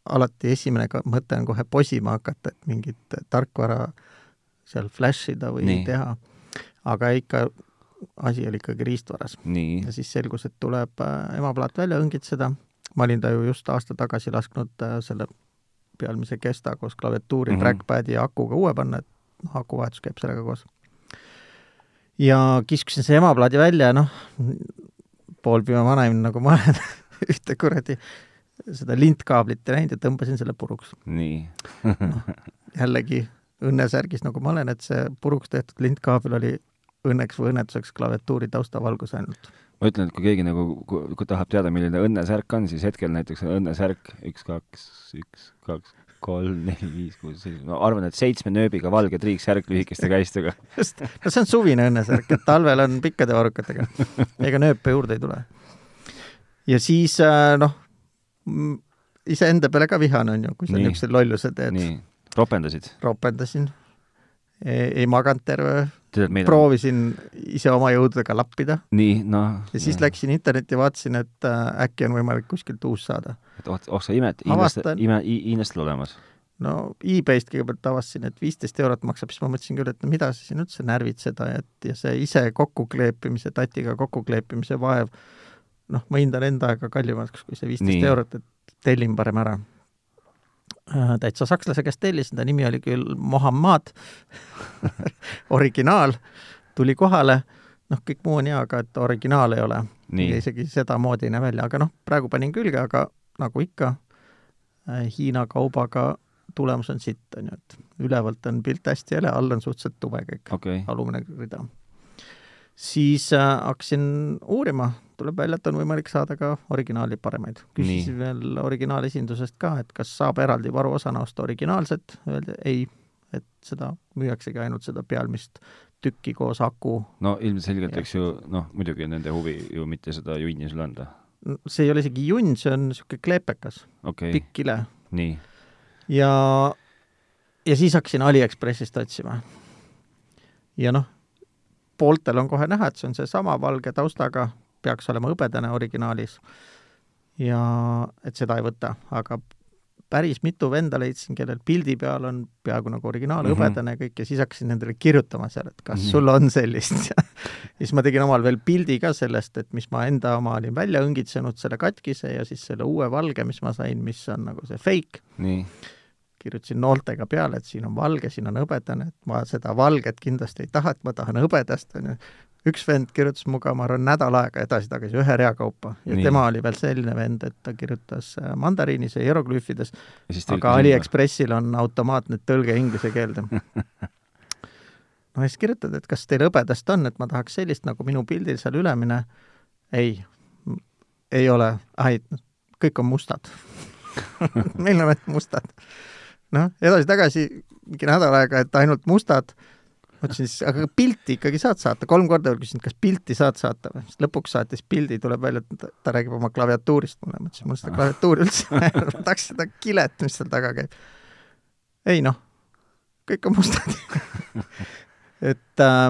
alati esimene ka- mõte on kohe posima hakata , et mingit tarkvara seal flash ida või
Nii.
Nii. teha , aga ikka asi oli ikkagi riistvaras
nii ,
ja siis selgus , et tuleb äh, emaplaat välja õngitseda . ma olin ta ju just aasta tagasi lasknud äh, selle pealmise kesta koos klaviatuuri mm ,
Mhm.
-hmm. trackpad'i ja akuga uue panna , et noh , akuvahetus käib sellega koos . ja kiskusin see emaplaadi välja ja noh , poolpime vanaim nagu ma olen , ühte kuradi seda lintkaablit ei näinud ja tõmbasin selle puruks .
nii ,
jällegi õnnesärgis , nagu ma olen , et see puruks tehtud lintkaabel oli õnneks või õnnetuseks klaviatuuri taustavalgus ainult .
ma ütlen , et kui keegi nagu ku, ku tahab teada , milline õnnesärk on , siis hetkel näiteks on õnnesärk üks , kaks , üks , kaks , kolm , neli , viis , kuus , seitse , ma arvan , et seitsme nööbiga valge triiksärk lühikeste käistega .
just , no see on suvine õnnesärk , et talvel on pikkade varrukatega , ega nööpe juurde ei tule . ja siis äh, noh , iseenda peale ka vihane on ju , kui sa
Nii.
niisuguse lolluse teed .
nii , ropendasid ?
ropendasin , ei ei maganud terve öö ,
tead , meil on
proovisin ise oma jõududega lappida
nii , noh .
ja siis läksin internetti , vaatasin , et äh, äkki on võimalik kuskilt uus saada .
et oh , oh sa imet , hiinlaste
Avastan. ,
ime , hiinlastel olemas .
no e-Bayst kõigepealt avastasin , et viisteist eurot maksab , siis ma mõtlesin küll , et no mida sa siin üldse närvid seda , et ja see ise kokkukleepimise , tatiga kokkukleepimise vaev , noh , ma hindan enda aega kallimaks kui see
Nii.
viisteist eurot , et tellin parem ära . täitsa sakslase käest tellisin , ta nimi oli küll Mohammad , originaal , tuli kohale , noh , kõik muu on hea , aga et originaal ei ole . ja
nii ,
isegi sedamoodi ei näe välja , aga noh , praegu panin külge , aga nagu ikka äh, Hiina kaubaga tulemus on sitt , on ju , et ülevalt on pilt hästi hele , all on suhteliselt tume kõik ,
okei ,
alumine rida . siis äh, hakkasin uurima , tuleb välja , et on võimalik saada ka originaali paremaid . küsisin veel originaalesindusest ka , et kas saab eraldi varuosana osta originaalset , öeldi ei , et seda müüaksegi ainult seda pealmist tükki koos aku ,
no ilmselgelt ,
Jah.
eks ju , noh , muidugi nende huvi ju mitte seda junni sulle anda .
see ei ole isegi junn , see on niisugune kleepekas ,
okei okay. ,
pikk kile
nii ,
ja , ja siis hakkasin Aliekspressist otsima . ja noh , pooltel on kohe näha , et see on seesama valge taustaga , peaks olema hõbedane originaalis . ja et seda ei võta , aga päris mitu venda leidsin , kellel pildi peal on peaaegu nagu originaal
Mhm.
hõbedane ja kõik ja siis hakkasin nendele kirjutama seal , et kas
Mhm.
sul on sellist ja siis ma tegin omal veel pildi ka sellest , et mis ma enda oma olin välja õngitsenud , selle katkise ja siis selle uue valge , mis ma sain , mis on nagu see fake
nii ,
kirjutasin nooltega peale , et siin on valge , siin on hõbedane , et ma seda valget kindlasti ei taha , et ma tahan hõbedast , onju . üks vend kirjutas muga, ma arvan, nädal aega edasi-tagasi ühe rea kaupa ja
Nii.
Nii. tema oli veel selline vend , et ta kirjutas äh, mandariinis ja hieroglüüfides ,
ja siis
aga . Aliekspressil on automaatne tõlge inglise keelde . no ja siis kirjutad , et kas teil hõbedast on , et ma tahaks sellist nagu minu pildil seal ülemine . ei , ei ole , ai , kõik on mustad . meil on ainult mustad . noh , edasi-tagasi mingi nädal aega , et ainult mustad . ma ütlesin siis , aga pilti ikkagi saad saata , kolm korda veel küsisin , kas pilti saad saata või , siis lõpuks saatis pildi , tuleb välja , et ta- ta räägib oma klaviatuurist mulle , ma ütlesin , mul seda klaviatuuri üldse ei ole , ma tahaks seda kilet , mis seal taga käib . ei noh , kõik on mustad . et äh,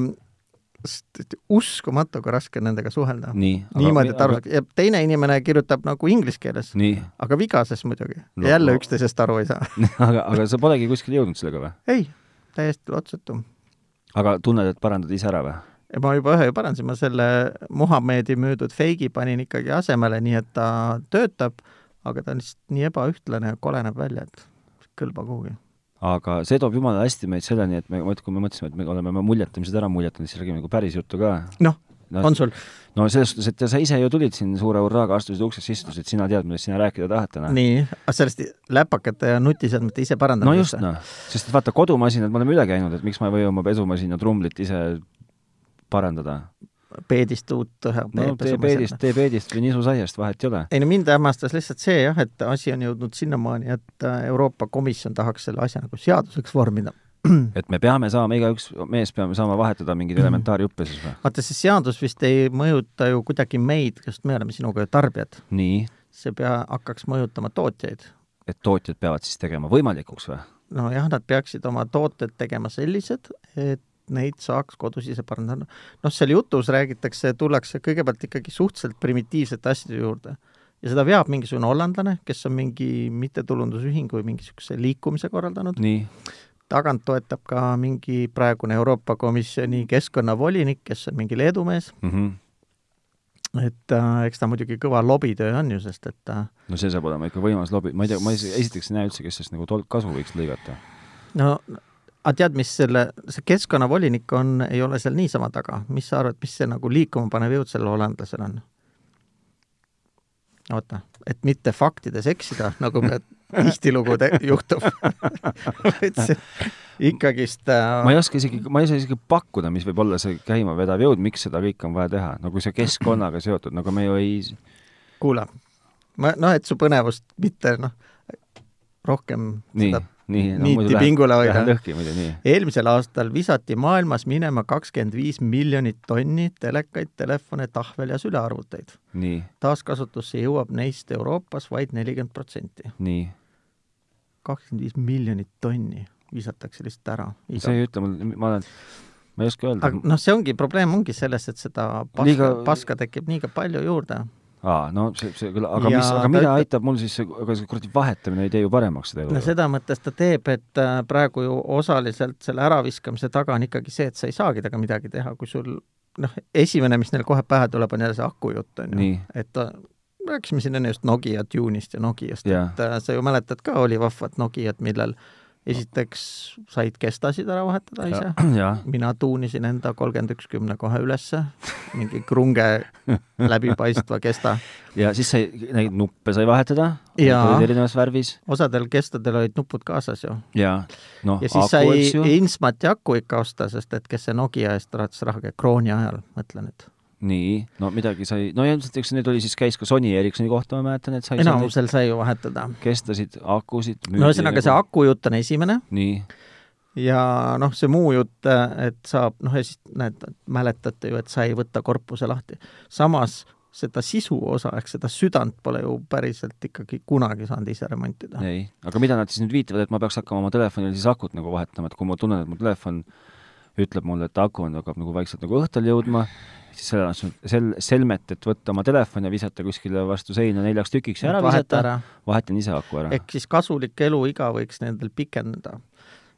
sest uskumatu , kui raske nendega suhelda .
nii .
niimoodi , et aru saaks , ja teine inimene kirjutab nagu inglise keeles ,
nii ,
aga vigases muidugi
No-
no, , jälle no. üksteisest aru ei saa .
aga , aga sa polegi kuskile jõudnud sellega või ?
ei , täiesti lotsutu .
aga tunned , et parandad ise ära või ?
ja ma juba ühe ju parandasin , ma selle Muhamedi müüdud feigi panin ikkagi asemele , nii et ta töötab , aga ta on lihtsalt nii ebaühtlane ja kole näeb välja , et kõlba kuhugi .
aga see toob jumala hästi meid selleni , et me , kui me mõtlesime , et me oleme oma muljetamised ära muljetanud , siis räägime nagu päris juttu ka .
noh ,
no,
on sul ?
no selles suhtes , et sa ise ju tulid siin suure hurraaga , astusid uksest sisse , ütlesid , sina tead , millest sina rääkida tahad täna .
nii , nagu aga sellest läpakate ja nutiseadmete ise
no
parandamisest
just , noh , sest et vaata , kodumasinad me oleme üle käinud , et miks ma ei või oma pesumasina trumlit ise parandada .
no. ? peedist uut ühe
no tee peedist , tee peedist või nisusaiast , vahet ei ole .
ei no mind hämmastas lihtsalt see jah , et asi on jõudnud sinnamaani , et äh, Euroopa Komisjon tahaks selle asja nagu seaduseks vormida .
et me peame saama , igaüks mees peame saama vahetada mingeid elementaarjuppe siis või ?
vaata , see seadus vist ei mõjuta ju kuidagi meid , sest me oleme sinuga ju tarbijad .
nii ,
see pea , hakkaks mõjutama tootjaid .
et tootjad peavad siis tegema võimalikuks või ?
nojah , nad peaksid oma tooted tegema sellised , et neid saaks kodus ise parandada . noh , seal jutus räägitakse , tullakse kõigepealt ikkagi suhteliselt primitiivsete asjade juurde ja seda veab mingisugune hollandlane , kes on mingi mittetulundusühingu või mingisuguse liikumise korraldanud ,
nii ,
tagant toetab ka mingi praegune Euroopa Komisjoni keskkonnavolinik , kes on mingi Leedu mees ,
Mhm.
et äh, eks ta muidugi kõva lobitöö on ju , sest et äh,
no see saab olema ikka võimas lobi , ma ei tea , ma ise- esiteks ei näe üldse , kes sellest nagu tol- , kasu võiks lõigata .
no aga tead , mis selle , see keskkonnavolinik on , ei ole seal niisama taga , mis sa arvad , mis see nagu liikuma panev jõud sellel hollandlasel on ? oota , et mitte faktides eksida , nagu me tihtilugu te- juhtub . ikkagist
ma
äh,
ei oska isegi , ma ei saa isegi pakkuda , mis võib olla see käimavedav jõud , miks seda kõike on vaja teha , nagu see keskkonnaga seotud , nagu me ju ei ,
kuula , ma noh , et su põnevust mitte noh , rohkem
nii
seda ,
nii no,
niiti
muidu läheb-
pingule hoida
läheb lõhki muidu , nii .
eelmisel aastal visati maailmas minema kakskümmend viis miljonit tonni telekaid , telefone , tahvel ja sülearvuteid .
nii ,
taaskasutusse jõuab neist Euroopas vaid nelikümmend protsenti .
nii .
kakskümmend viis miljonit tonni visatakse lihtsalt ära .
see ei ütle mul , ma olen , ma ei oska öelda
aga . noh , see ongi , probleem ongi selles , et seda paska
Liiga-
liiga... , paska tekib liiga palju juurde .
aa , no see , see küll , aga
Ja
mis , aga
ta
mida
ütleb-
aitab mul siis see , aga see kuradi vahetamine ei tee ju paremaks seda
no
elu .
seda mõttes ta teeb , et äh, praegu ju osaliselt selle äraviskamise taga on ikkagi see , et sa ei saagi temaga midagi teha , kui sul noh , esimene , mis neil kohe pähe tuleb , on jälle see akujutt , on ju
nii ,
et äh, rääkisime siin enne just Nokia Tune'ist ja Nokiast ,
Jaa.
et äh, sa ju mäletad ka , oli vahvat Nokiat , millel esiteks said kestasid ära vahetada ise ,
jah ,
mina tuunisin enda kolmkümmend üks kümne kohe ülesse , mingi krunge läbipaistva kesta .
ja siis sai , neid nuppe sai vahetada ,
Jaa.
olid erinevas värvis
osadel kestadel olid nupud kaasas ju .
ja noh ,
ja siis
aku , eks ju
sai , Insmati aku ikka osta , sest et kes see Nokia eest rahatas raha , krooni ajal , mõtle nüüd .
nii , no midagi sai , no ilmselt eks need oli siis , käis ka Sony Ericssoni kohta , ma mäletan , et sai seal
enamusel sai ju vahetada .
neid kestasid , akusid .
no ühesõnaga , see . akujutt on esimene ,
nii ,
ja noh , see muu jutt , et saab , noh ja siis näed , mäletate ju , et sa ei võta korpuse lahti . samas seda sisu osa ehk seda südant pole ju päriselt ikkagi kunagi saanud ise remontida .
ei , aga mida nad siis nüüd viitavad , et ma peaks hakkama oma telefonil siis akut nagu vahetama , et kui ma tunnen , et mu telefon ütleb mulle , et aku on , hakkab nagu vaikselt nagu õhtul jõudma , siis selle asemel , sel- , selmet , et võtta oma telefon ja visata kuskile vastu seina neljaks tükiks ja ära visata , vahetan ise aku ära .
ehk siis kasulik eluiga võiks nendel pikendada .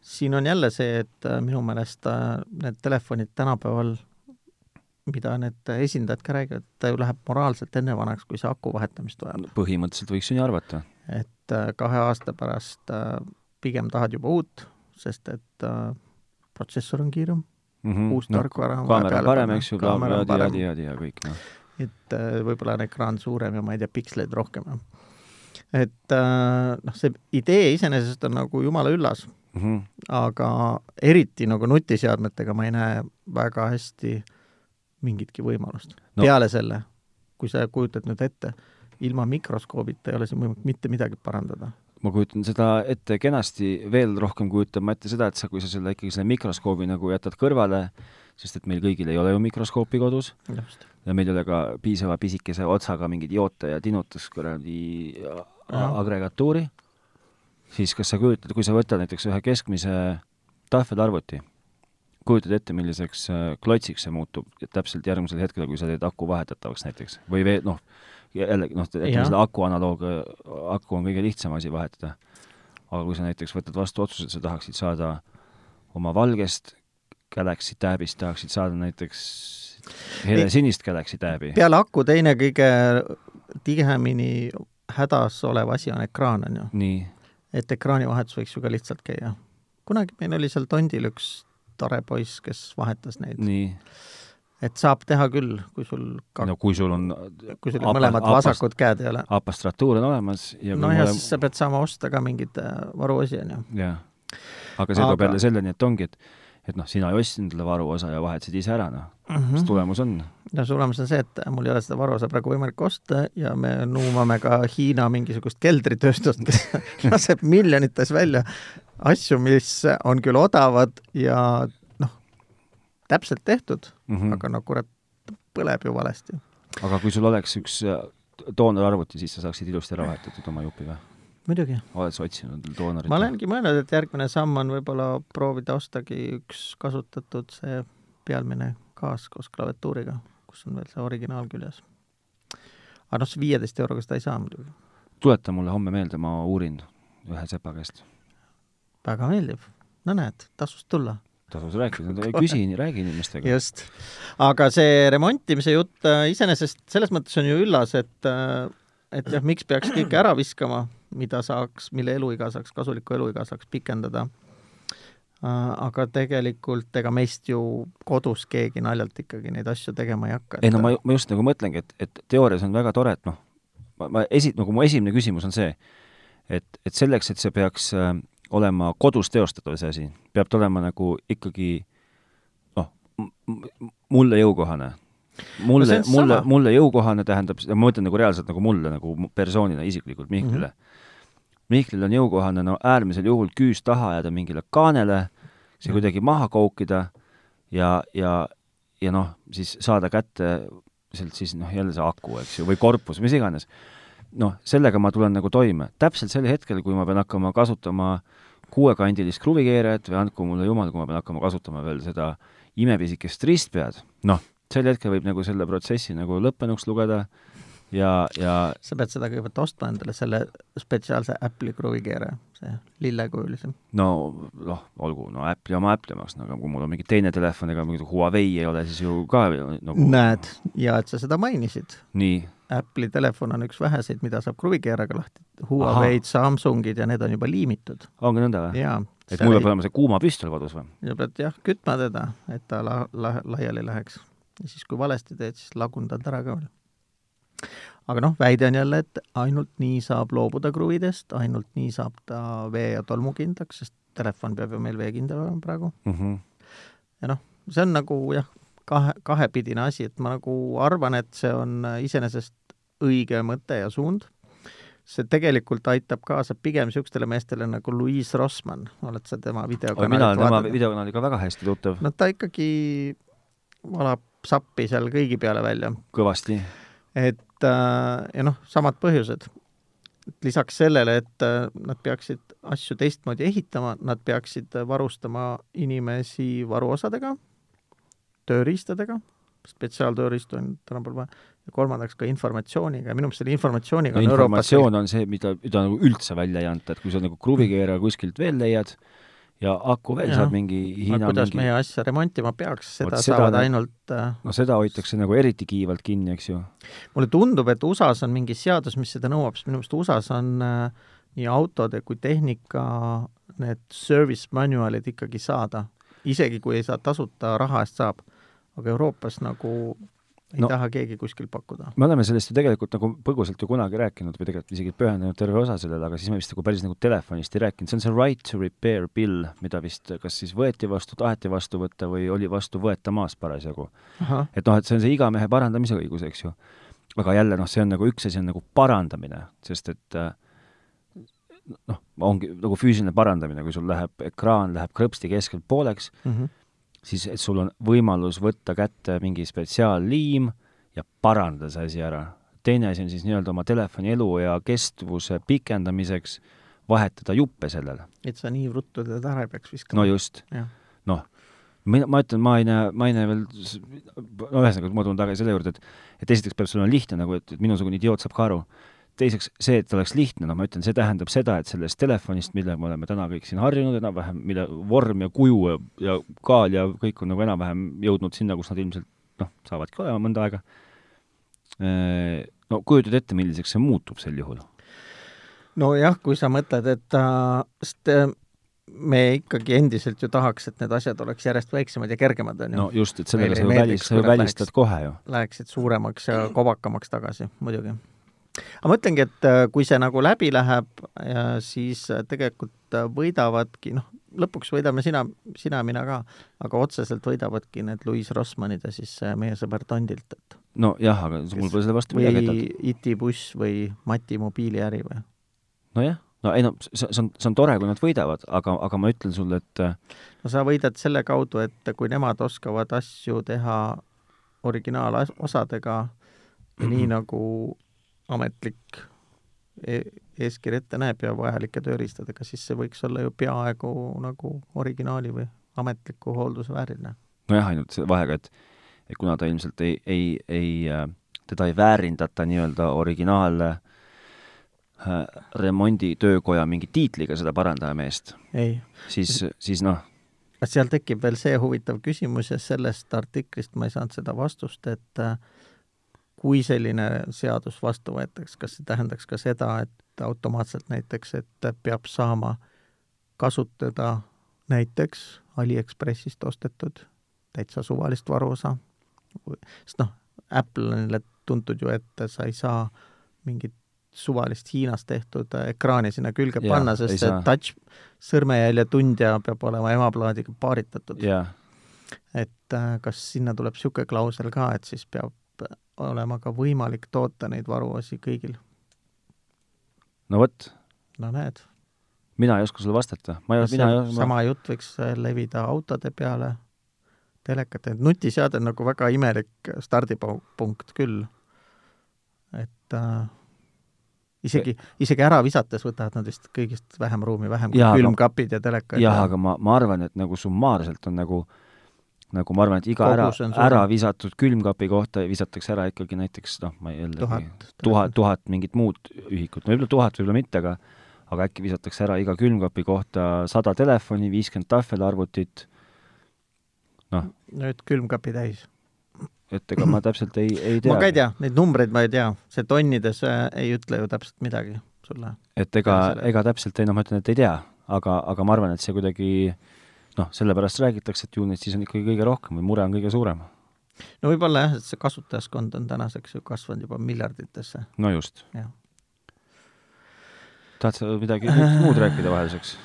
siin on jälle see , et äh, minu meelest äh, need telefonid tänapäeval , mida need esindajad ka räägivad , ta ju läheb moraalselt enne vanaks , kui see aku vahetamist vajab .
põhimõtteliselt võiks ju nii arvata .
et äh, kahe aasta pärast äh, pigem tahad juba uut , sest et äh, protsessor on kiirem ,
-hmm.
uus tarkvara on vaja
kaamera on
peale
parem ,
panna.
eks ju ,
Kaamera on
ja ,
parem.
ja , ja kõik , noh .
et äh, võib-olla on ekraan suurem ja ma ei tea , piksleid rohkem . et äh, noh , see idee iseenesest on nagu jumala üllas ,
Mhm.
aga eriti nagu nutiseadmetega ma ei näe väga hästi mingitki võimalust
No.
no. . peale selle , kui sa kujutad nüüd ette , ilma mikroskoobita ei ole siin võimalik mitte midagi parandada .
ma kujutan seda ette kenasti , veel rohkem kujutan ma ette seda , et sa , kui sa selle ikkagi selle mikroskoobi nagu jätad kõrvale , sest et meil kõigil ei ole ju mikroskoopi kodus
just .
ja meil ei ole ka piisava pisikese otsaga mingeid joote ja tinutuskuradi a-
Jah.
agregatuuri , siis kas sa kujutad , kui sa võtad näiteks ühe keskmise tahvelarvuti , kujutad ette , milliseks äh, klotsiks see muutub et täpselt järgmisel hetkel , kui sa teed aku vahetatavaks näiteks või veel noh , jällegi noh , ütleme
Jah.
selle aku analoog , aku on kõige lihtsam asi vahetada . aga kui sa näiteks võtad vastu otsuse , et sa tahaksid saada oma valgest Galaxy Tabist tahaksid saada näiteks helesinist Galaxy Tabi .
peale aku teine kõige tihemini hädas olev asi on ekraan , on ju .
nii ,
et ekraanivahetus võiks ju ka lihtsalt käia . kunagi meil oli seal Tondil üks tore poiss , kes vahetas neid ,
nii .
et saab teha küll , kui sul ka-
no , kui sul on ,
kui sul
apa-
mõlemad
apast-
vasakud käed ei ole .
apastratuur on olemas ja kui
no ja
mul-
siis sa pead saama osta ka mingeid äh, varuosi , on ju .
jah , aga see toob
Aga-
jälle selleni , et ongi , et , et noh , sina ei ostnud endale varuosa ja vahetasid ise ära , noh .
Mhm.
mis tulemus on ?
no tulemus on see , et äh, mul ei ole seda varuosa praegu võimalik osta ja me nuumame ka Hiina mingisugust keldritööstust , kes laseb miljonites välja asju , mis on küll odavad ja noh , täpselt tehtud ,
Mm.
aga no kurat , põleb ju valesti .
Mhm. aga kui sul oleks üks äh, doonorarvuti , siis sa saaksid ilusti ära vahetatud oma jupi või ?
muidugi
oled sa otsinud endale doonorit ?
ma . olengi mõelnud , et järgmine samm on võib-olla proovida ostagi üks kasutatud see pealmine kaas koos klaviatuuriga , kus on veel see originaal küljes . aga noh , see viieteist euroga seda ei saa muidugi .
tuleta mulle homme meelde , ma uurin ühe sepa käest .
väga meeldib . no näed , tasus tulla .
tasus rääkida , küsi , räägi inimestega .
just . aga see remontimise jutt äh, iseenesest selles mõttes on ju üllas , et äh, et jah , miks peaks kõike ära viskama , mida saaks , mille eluiga saaks , kasulikku eluiga saaks pikendada . aga tegelikult ega meist ju kodus keegi naljalt ikkagi neid asju tegema ei hakka .
ei no ma , ma just nagu mõtlengi , et , et teoorias on väga tore , et noh , ma , ma esi- , nagu mu esimene küsimus on see , et , et selleks , et see peaks äh, olema kodus teostatav , see asi , peab ta olema nagu ikkagi noh , mulle jõukohane .
No see on
mulle no, , mulle ,
sama.
mulle jõukohane tähendab , ma mõtlen nagu reaalselt nagu mulle nagu mu- persoonina isiklikult
Mhm.
Mihklile mm . -hmm. Mihklil on jõukohane no äärmisel juhul küüs taha ajada mingile kaanele ,
Mhm.
see kuidagi maha koukida ja , ja , ja noh , siis saada kätte sealt siis noh , jälle see aku , eks ju , või korpus , mis iganes . noh , sellega ma tulen nagu toime . täpselt sel hetkel , kui ma pean hakkama kasutama kuuekandilist kruvikeerajat või andku mulle jumal , kui ma pean hakkama kasutama veel seda imepisikest ristpead , noh , sel hetkel võib nagu selle protsessi nagu lõppenuks lugeda ja , ja
sa pead seda kõigepealt ostma endale , selle spetsiaalse Apple'i kruvikeeraja , see lillekujulisem .
no noh , olgu , no Apple'i oma Apple'i omaks , no aga kui mul on mingi teine telefon , ega mingi Huawei ei ole siis ju ka ju nagu
näed , ja et sa seda mainisid
nii
Apple'i telefon on üks väheseid , mida saab kruvikeeraga lahti , Huawei'd , Samsungid ja need on juba liimitud
ongi nõnda või ?
ja
Ah. et mul peab
ei,
olema see kuumapüstol kodus või ?
ja pead jah , kütma teda , et ta la, la, laiali läheks . ja siis , kui valesti teed , siis lagundad ära ka veel . aga noh , väide on jälle , et ainult nii saab loobuda kruvidest , ainult nii saab ta vee- ja tolmukindlaks , sest telefon peab ju meil veekindel olema praegu .
mm . -hmm.
ja noh , see on nagu jah , kahe , kahepidine asi , et ma nagu arvan , et see on iseenesest õige mõte ja suund . see tegelikult aitab kaasa pigem niisugustele meestele nagu Louise Rossmann , oled sa tema
aga mina
videokanalit
olen tema
vaadanud ?
videokanaaliga väga hästi tuttav no. ,
no ta ikkagi valab sappi seal kõigi peale välja ,
kõvasti .
et äh, ja noh , samad põhjused . et lisaks sellele , et äh, nad peaksid asju teistmoodi ehitama , nad peaksid varustama inimesi varuosadega , tööriistadega , spetsiaaltööriistu on tänapäeval vaja , ja kolmandaks ka informatsiooniga ja minu meelest selle informatsiooniga
no
on Euroopas
informatsioon on see , mida , mida nagu üldse välja ei anta , et kui sa nagu kruvikeeraja kuskilt veel leiad ja aku veel
Jah.
saad mingi
aga
Hiina
kuidas
mingi
mingi... , meie asja remontima peaks , seda
Vot seda
saavad
nad-
ainult äh,
no seda hoitakse nagu eriti kiivalt kinni , eks ju .
mulle tundub , et USA-s on mingi seadus , mis seda nõuab , sest minu meelest USA-s on äh, nii autode kui tehnika need service manual'id ikkagi saada isegi kui ei saa tasuta, raha eest saab. aga Euroopas nagu ei
No-
no. taha keegi kuskil pakkuda .
me oleme sellest ju tegelikult nagu põgusalt ju kunagi rääkinud või tegelikult isegi pühendanud terve osa sellele , aga siis me vist nagu päris nagu telefonist ei rääkinud , see on see right to repair bill , mida vist kas siis võeti vastu , taheti vastu võtta või oli vastu võetamas parasjagu . et noh , et see on see iga mehe parandamise õigus , eks ju . aga jälle noh , see on nagu üks asi on nagu parandamine , sest et äh, noh , ongi nagu füüsiline parandamine , kui sul läheb ekraan läheb krõpsti keskelt pooleks ,
Mhm.
siis et sul on võimalus võtta kätte mingi spetsiaalliim ja parandada see asi ära . teine asi on siis nii-öelda oma telefoni eluea kestvuse pikendamiseks vahetada juppe sellele .
et sa nii ruttu teda ära ei peaks viskama
no . just ,
jah ,
noh , mina , ma ütlen , ma ei näe , ma ei näe veel , no ühesõnaga , ma tulen tagasi selle juurde , et et esiteks peab sul olema lihtne nagu , et et minusugune idioot saab ka aru , teiseks see , et oleks lihtne , no ma ütlen , see tähendab seda , et sellest telefonist , millega me oleme täna kõik siin harjunud enam-vähem , mille vorm ja kuju ja, ja kaal ja kõik on nagu enam-vähem jõudnud sinna , kus nad ilmselt noh , saavadki olema mõnda aega . no kujutad ette , milliseks see muutub sel juhul ?
nojah , kui sa mõtled , et äh, sest äh, me ikkagi endiselt ju tahaks , et need asjad oleks järjest väiksemad ja kergemad , on ju
no
no. .
just , et
Meile ei
sellega sa ju
meeldiks,
välis , sa ju
kui nad
välistad
läheks-
kohe ju .
Läheksid suuremaks ja kobakamaks tagasi , muidugi . aga ma ütlengi , et äh, kui see nagu läbi läheb , siis äh, tegelikult äh, võidavadki , noh , lõpuks võidame sina , sina ja mina ka , aga otseselt võidavadki need Louis Rossmannid ja siis äh, meie sõber Tondilt , et
nojah , aga mul
Kes-
pole selle vastu midagi , et nad
või IT buss või Mati mobiiliäri või
nojah , no ei no see , see on , see on tore , kui nad võidavad , aga , aga ma ütlen sulle , et äh,
no sa võidad selle kaudu , et kui nemad oskavad asju teha originaalosadega ja nii nagu ametlik e- eeskiri ette näeb ja vajalike tööriistadega , siis see võiks olla ju peaaegu nagu originaali või ametliku hoolduse vääriline .
nojah , ainult see vahega , et et kuna ta ilmselt ei , ei , ei , teda ei väärindata nii-öelda originaal äh, remonditöökoja mingi tiitliga seda parandajameest ,
ei ,
siis , siis noh ,
seal tekib veel see huvitav küsimus ja sellest artiklist ma ei saanud seda vastust , et äh, kui selline seadus vastu võetakse , kas see tähendaks ka seda , et automaatselt näiteks , et peab saama kasutada näiteks Aliekspressist ostetud täitsa suvalist varuosa , sest noh , Apple'ile tuntud ju , et sa ei saa mingit suvalist Hiinas tehtud ekraani sinna külge
Jaa,
ja, panna ,
ei
sest see
saa.
touch , sõrmejälje tundja peab olema emaplaadiga paaritatud .
jaa ,
et äh, kas sinna tuleb niisugune klausel ka , et siis peab äh, olema ka võimalik toota neid varuosi kõigil ?
no vot ,
no näed ,
mina ei oska sulle vastata , ma ei , mina ei oska ,
sama jutt võiks äh, levida autode peale , telekate , nutiseade on nagu väga imelik stardipunkt küll . et äh, isegi , isegi ära visates võtavad nad vist kõigist vähem ruumi , vähem kui
Jaa, aga-
külmkapid ja telekad
jah , aga ma , ma arvan , et nagu summaarselt on nagu nagu ma arvan , et iga ära
Kogus on , suurem.
ära visatud külmkapi kohta visatakse ära ikkagi näiteks noh , ma ei
ja
jällegi
tuhat .
tuhat ,. tuhat mingit muud ühikut , no võib-olla tuhat , võib-olla mitte , aga aga äkki visatakse ära iga külmkapi kohta sada telefoni , viiskümmend tahvelarvutit ,
nüüd külmkapi täis .
et ega ma täpselt ei , ei tea .
ma ka ei tea , neid numbreid ma ei tea , see tonnides äh, ei ütle ju täpselt midagi sulle .
et ega
Peale selle. ,
ega täpselt ei , noh , ma ütlen , et ei tea , aga , aga ma arvan , et see kuidagi noh , sellepärast räägitakse , et ju neid siis on ikkagi kõige rohkem või mure on kõige suurem .
no võib-olla jah , et see kasutajaskond on tänaseks ju kasvanud juba miljarditesse .
no just
Jah. .
tahad sa midagi kõik muud rääkida vahelduseks ?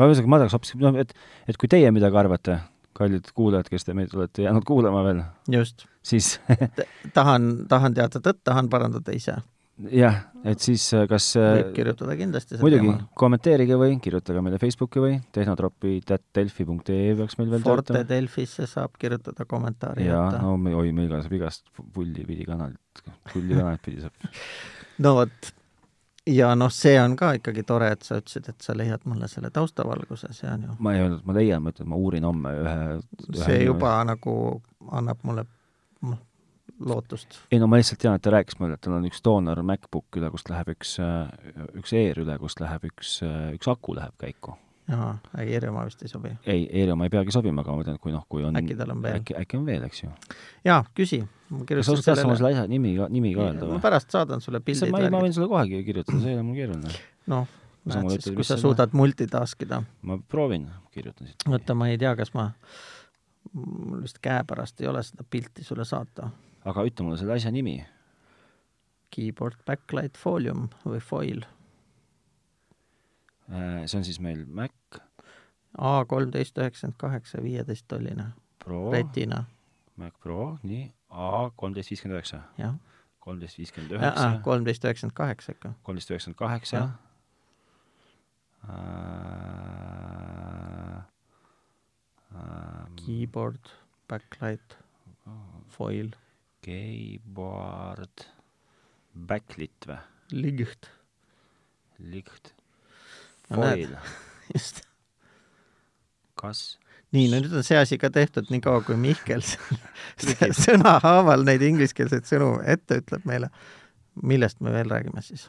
ma ühesõnaga , ma tahaks hoopis , noh , et , et kui teie midagi arvate , kallid kuulajad , kes te meid olete jäänud kuulama veel ,
just ,
siis
tahan , tahan teada tõtt , tahan parandada ise .
jah , et siis äh, kas äh,
võib kirjutada kindlasti sel
muidugi
teemal .
kommenteerige või kirjutage meile Facebooki või tehnotropi.delfi.ee peaks meil veel
Forte
töötama .
Delfisse saab kirjutada kommentaari
ja
jätta no. .
no me , oi , meil ka saab igast pulli pidi kanalit , pulli kanalit pidi saab .
no vot , ja noh , see on ka ikkagi tore , et sa ütlesid , et sa leiad mulle selle taustavalguse , see on ju ,
ma ei öelnud , et ma leian , ma ütlen , et ma uurin homme ühe .
see juba nagu annab mulle noh, lootust .
ei no ma lihtsalt tean , et ta rääkis mulle , et tal on üks doonor MacBook üle , kust läheb üks , üks Air üle , kust läheb üks , üks aku läheb käiku .
jaa , Airi oma vist ei sobi .
ei , Airi oma ei peagi sobima , aga ma tean , et kui noh , kui on
äkki tal on veel ?
äkki , äkki on veel , eks ju .
jaa , küsi . ma
kas sa
kirjutasin
oskad
sellele
selle asja nimi ka , nimi ka öelda
ma
või ?
pärast saadan sulle
see ,
pildid
ma ei , ma
värgid.
võin sulle kohe ki- kirjutada , see ei ole mul keeruline .
noh , näed siis, kui sa suudad multitask ida.
ma proovin, kirjutan siit .
oota , ma ei tea , kas ma , mul vist käepärast ei ole seda pilti sulle saata .
aga ütle mulle selle asja nimi .
Keyboard backlight folium või foil
Äh, see on siis meil Mac
A kolmteist üheksakümmend kaheksa viieteist tolline
Pro ,
retina ,
Mac Pro , nii , A kolmteist viiskümmend üheksa ,
jah .
kolmteist viiskümmend üheksa ,
kolmteist üheksakümmend kaheksa ikka .
kolmteist üheksakümmend kaheksa Äh,
Jah. .
äh, Mm.
Keyboard backlight foil
Keyboard , backlit või ?
liht ,
Licht ,
No näed.
foil ,
just .
kas
nii , no nüüd on see asi ka tehtud , niikaua kui Mihkel s- sõnahaaval neid ingliskeelseid sõnu ette ütleb meile , millest me veel räägime siis ?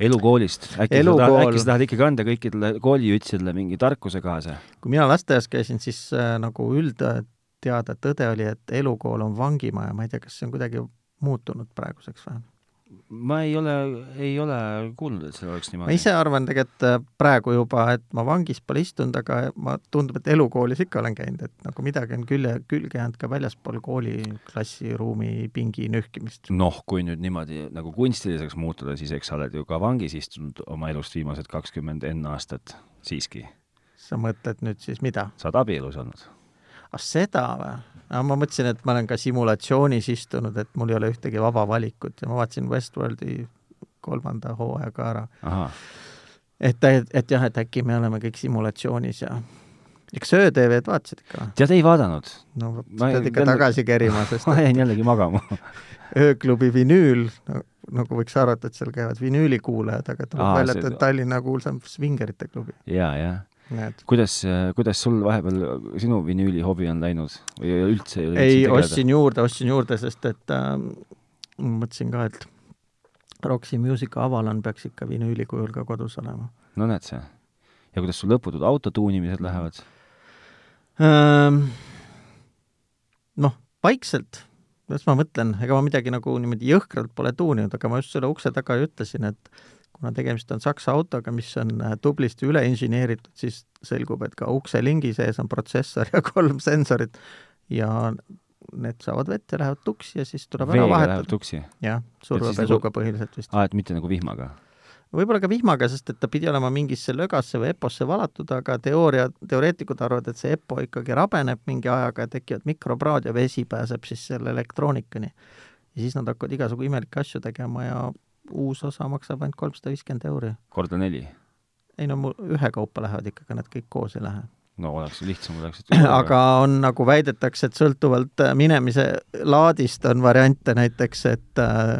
elukoolist , äkki sa
Elukool.
tahad , äkki sa tahad ikkagi anda kõikidele kooliütsidele mingi tarkuse kaasa ?
kui mina lasteaias käisin , siis äh, nagu üldteada tõde oli , et elukool on vangimaja , ma ei tea , kas see on kuidagi muutunud praeguseks või ?
ma ei ole , ei ole kuulnud , et seal
ma
oleks niimoodi .
ise arvan tegelikult äh, praegu juba , et ma vangis pole istunud , aga ma , tundub , et elukoolis ikka olen käinud , et nagu midagi on külje , külge jäänud ka väljaspool kooli klassiruumi pingi nühkimist .
noh , kui nüüd niimoodi nagu kunstiliseks muutuda , siis eks sa oled ju ka vangis istunud oma elust viimased kakskümmend enne aastat siiski .
sa mõtled nüüd siis mida ?
sa oled abielus olnud .
ah seda või ? ma mõtlesin , et ma olen ka simulatsioonis istunud , et mul ei ole ühtegi vaba valikut ja ma vaatasin Westworldi kolmanda hooaja ka ära .
ahah ,
et , et, et jah , et äkki me oleme kõik simulatsioonis ja eks öö-TV-d vaatasid ikka või ?
tead , ei vaadanud .
no vot ,
Ma ei-
pead ikka
jälle-
tagasi kerima , sest
ma
et
jäin jällegi magama .
ööklubi vinüül , nagu võiks arvata , et seal käivad vinüülikuulajad , aga tuleb
Aa,
välja ,
see-
et on Tallinna kuulsam svingerite klubi ,
ja , ja .
näed .
kuidas , kuidas sul vahepeal sinu vinüüli hobi on läinud või ei ole üldse ei ole
ei ,
üldse
ostsin juurde , ostsin juurde , sest et ähm, ma mõtlesin ka , et Roxy Music Avalon peaks ikka vinüüli kujul ka kodus olema
tegeleda ? no näed sa . ja kuidas sul lõputud autotuunimised lähevad ?
ähm, . noh , vaikselt , las ma mõtlen , ega ma midagi nagu niimoodi jõhkralt pole tuuninud , aga ma just selle ukse taga ju ütlesin , et kuna tegemist on saksa autoga , mis on äh, tublisti üle inseneeritud , siis selgub , et ka ukselingi sees on protsessor ja kolm sensorit ja need saavad vett ja lähevad tuksi ja siis tuleb ära
veega läheb
vahetada .
tuksi ?
jah ,
siis
survepesuga põhiliselt vist .
aa , et mitte nagu vihmaga ?
nagu võib-olla ka vihmaga , sest et ta pidi olema mingisse lögasse või EPO-sse valatud , aga teooria , teoreetikud arvavad , et see EPO ikkagi rabeneb mingi ajaga ja tekivad mikropraod ja vesi pääseb siis selle elektroonikani . ja siis nad hakkavad igasugu imelikke asju tegema ja uus osa maksab ainult kolmsada viiskümmend euri .
korda neli ?
ei no mul ühekaupa lähevad ikkagi , nad kõik koos ei lähe .
no oleks ju lihtsam , oleks .
aga on nagu väidetakse , et sõltuvalt äh, minemise laadist on variante näiteks , et äh,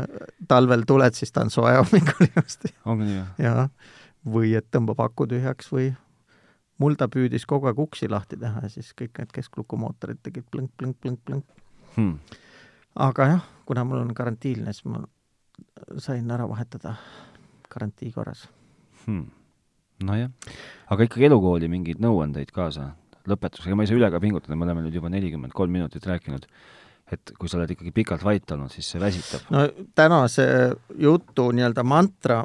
talvel tuled , siis ta on soe hommikul just
ongi nii või ?
jaa , või et tõmbab aku tühjaks või mul ta püüdis kogu aeg uksi lahti teha ja siis kõik need kesklukumootorid tegid plõnk-plõnk-plõnk-plõnk .
hmm. .
aga jah , kuna mul on karantiilne , siis ma sain ära vahetada garantii korras .
Hmm. nojah , aga ikkagi elukooli mingeid nõuandeid kaasa lõpetuseks , ega ma ei saa üle ka pingutada , me oleme nüüd juba nelikümmend kolm minutit rääkinud , et kui sa oled ikkagi pikalt vait olnud , siis see väsitab .
no tänase jutu nii-öelda mantra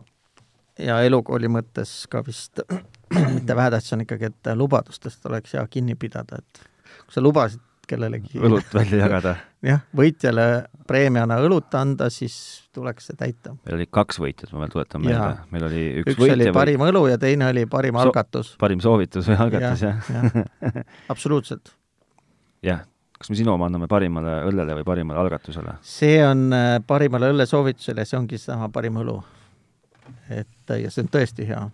ja elukooli mõttes ka vist mitte vähetähtis on ikkagi , et lubadustest oleks hea kinni pidada , et kui sa lubasid kellelegi
õlut välja jagada ,
jah , võitjale preemiana õlut anda , siis tuleks see täita
meil oli kaks võitjat , ma veel tuletan meelde
Jaa. ,
meil oli üks,
üks,
üks
üks oli
võitja , parim...
parim õlu ja teine oli parim
So-
algatus .
parim soovitus või algatus , jah ?
absoluutselt .
jah , kas me sinu oma anname parimale õllele või parimale algatusele ?
see on äh, parimale õllesoovitusele , see ongi seesama parim õlu . et äh, ja see on tõesti hea .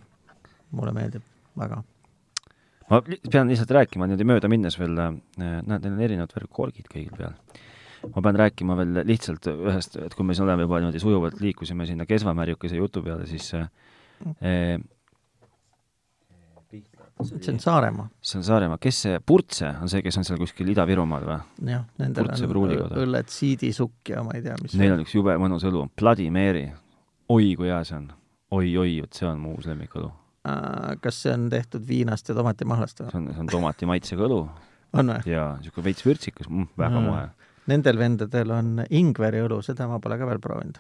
mulle meeldib väga .
ma li- pean lihtsalt rääkima niimoodi mööda minnes veel , näed , neil on erinevad värvi korgid kõigil peal . ma pean rääkima veel lihtsalt ühest , et kui me siin oleme juba niimoodi sujuvalt liikusime sinna Kesva märjukese jutu peale , siis äh, eh,
see on Saaremaa ,
see on Saaremaa , kes see , Purtse on see , kes on seal kuskil Ida-Virumaal või ?
jah , nendel
Kurtse
on
pruulikoda.
õ- õlled siidisukk ja ma ei tea , mis
Neil on üks jube mõnus õlu , Bloody Mary . oi kui hea see on oi, . oi-oi , vot see on mu uus lemmikõlu .
Äh, kas see on tehtud viinast ja tomatimahlast või ?
see on , see on tomati maitsega õlu
on või ?
ja niisugune veits vürtsikas mm, , väga
Mm.
moe mm. .
Nendel vendadel on ingveriõlu , seda ma pole ka veel proovinud .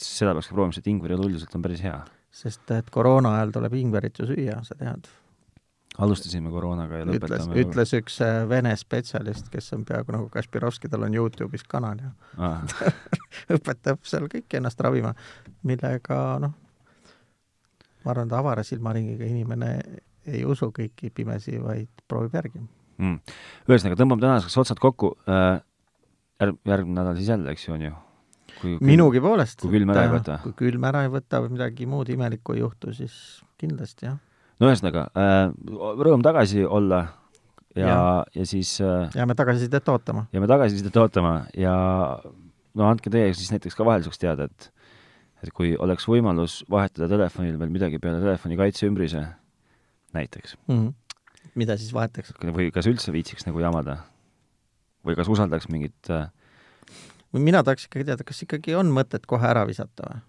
seda peaks ka proovima , sest ingveriõlu üldiselt on päris hea .
sest et koroona ajal tuleb ingverit ju süüa , sa tead .
alustasime koroonaga ja
ütles ,
lõpetame .
ütles üks äh, vene spetsialist , kes on peaaegu nagu Kaspirovski , tal on Youtube'is kanal ja
ah, .
õpetab seal kõiki ennast ravima , millega noh , ma arvan , et avara silmaringiga inimene ei usu kõiki pimesi , vaid proovib järgi .
Mm. ühesõnaga , tõmbame tänaseks otsad kokku äh, . järg , järgmine nädal siis jälle , eks ju , on ju ?
minugi poolest .
kui külm ära ei võta.
kui külm ära ei võta või midagi muud imelikku ei juhtu , siis kindlasti jah .
no ühesõnaga äh, , rõõm tagasi olla ja, ja. ,
Jaa.
ja siis äh,
jääme tagasisidet ootama .
jääme tagasisidet ootama ja no andke teie siis näiteks ka vahelduseks teada , et et kui oleks võimalus vahetada telefonil veel midagi peale telefoni kaitse ümbrise , näiteks ,
mida siis vahetaks
või kas üldse viitsiks nagu jamada või kas usaldaks mingit äh,
või mina tahaks ikkagi teada , kas ikkagi on mõtet kohe ära visata või ?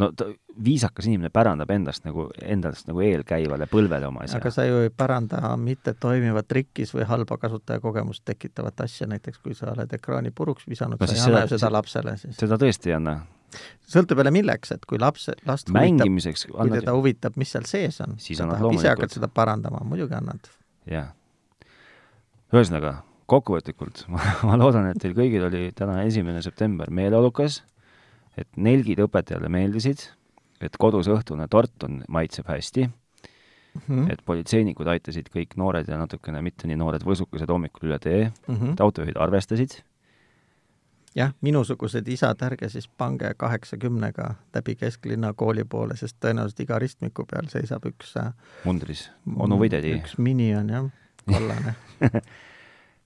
no ta, viisakas inimene pärandab endast nagu , endast nagu eelkäivale põlvele oma asja
aga . sa ju ei päranda mittetoimivat rikkis või halba kasutajakogemust tekitavat asja , näiteks kui sa oled ekraani puruks visanud
No
no, , sa
siis
ei anna
seda-
ju seda lapsele siis .
seda tõesti ei anna .
sõltub jälle milleks , et kui laps , last huvitab ,
mängimiseks
kui
annad
teda huvitab , mis seal sees on ,
Siis
ta
annad
tahab ise
loomulikult.
hakata seda parandama , muidugi annad .
jah . ühesõnaga , kokkuvõtlikult ma, ma loodan , et teil kõigil oli täna esimene september meeleolukas , et nelgid õpetajale meeldisid , et kodus õhtune tort on , maitseb hästi ,
Mhm.
et politseinikud aitasid kõik noored ja natukene mitte nii noored võsukesed hommikul üle tee , et autojuhid arvestasid ,
mhm. jah , minusugused isad , ärge siis pange kaheksakümnega läbi kesklinna kooli poole , sest tõenäoliselt iga ristmiku peal seisab üks äh,
mundris onu või tädi .
üks minion jah , kollane .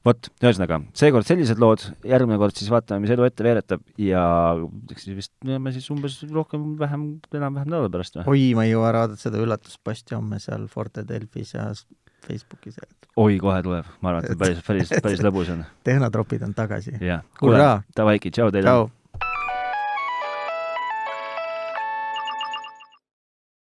vot , ühesõnaga , seekord sellised lood , järgmine kord siis vaatame , mis elu ette veeretab ja eks siis vist näeme siis umbes rohkem-vähem , enam-vähem nädala pärast või ?
oi , ma ei jõua ära vaadata seda üllatusposti homme seal Forte Delfis ja s- Facebookis .
oi , kohe tuleb , ma arvan , et päris , päris , päris lõbus on .
tehnotropid on tagasi .
jah ,
Hurraa!
kuule , davai , tšau teile .
tšau .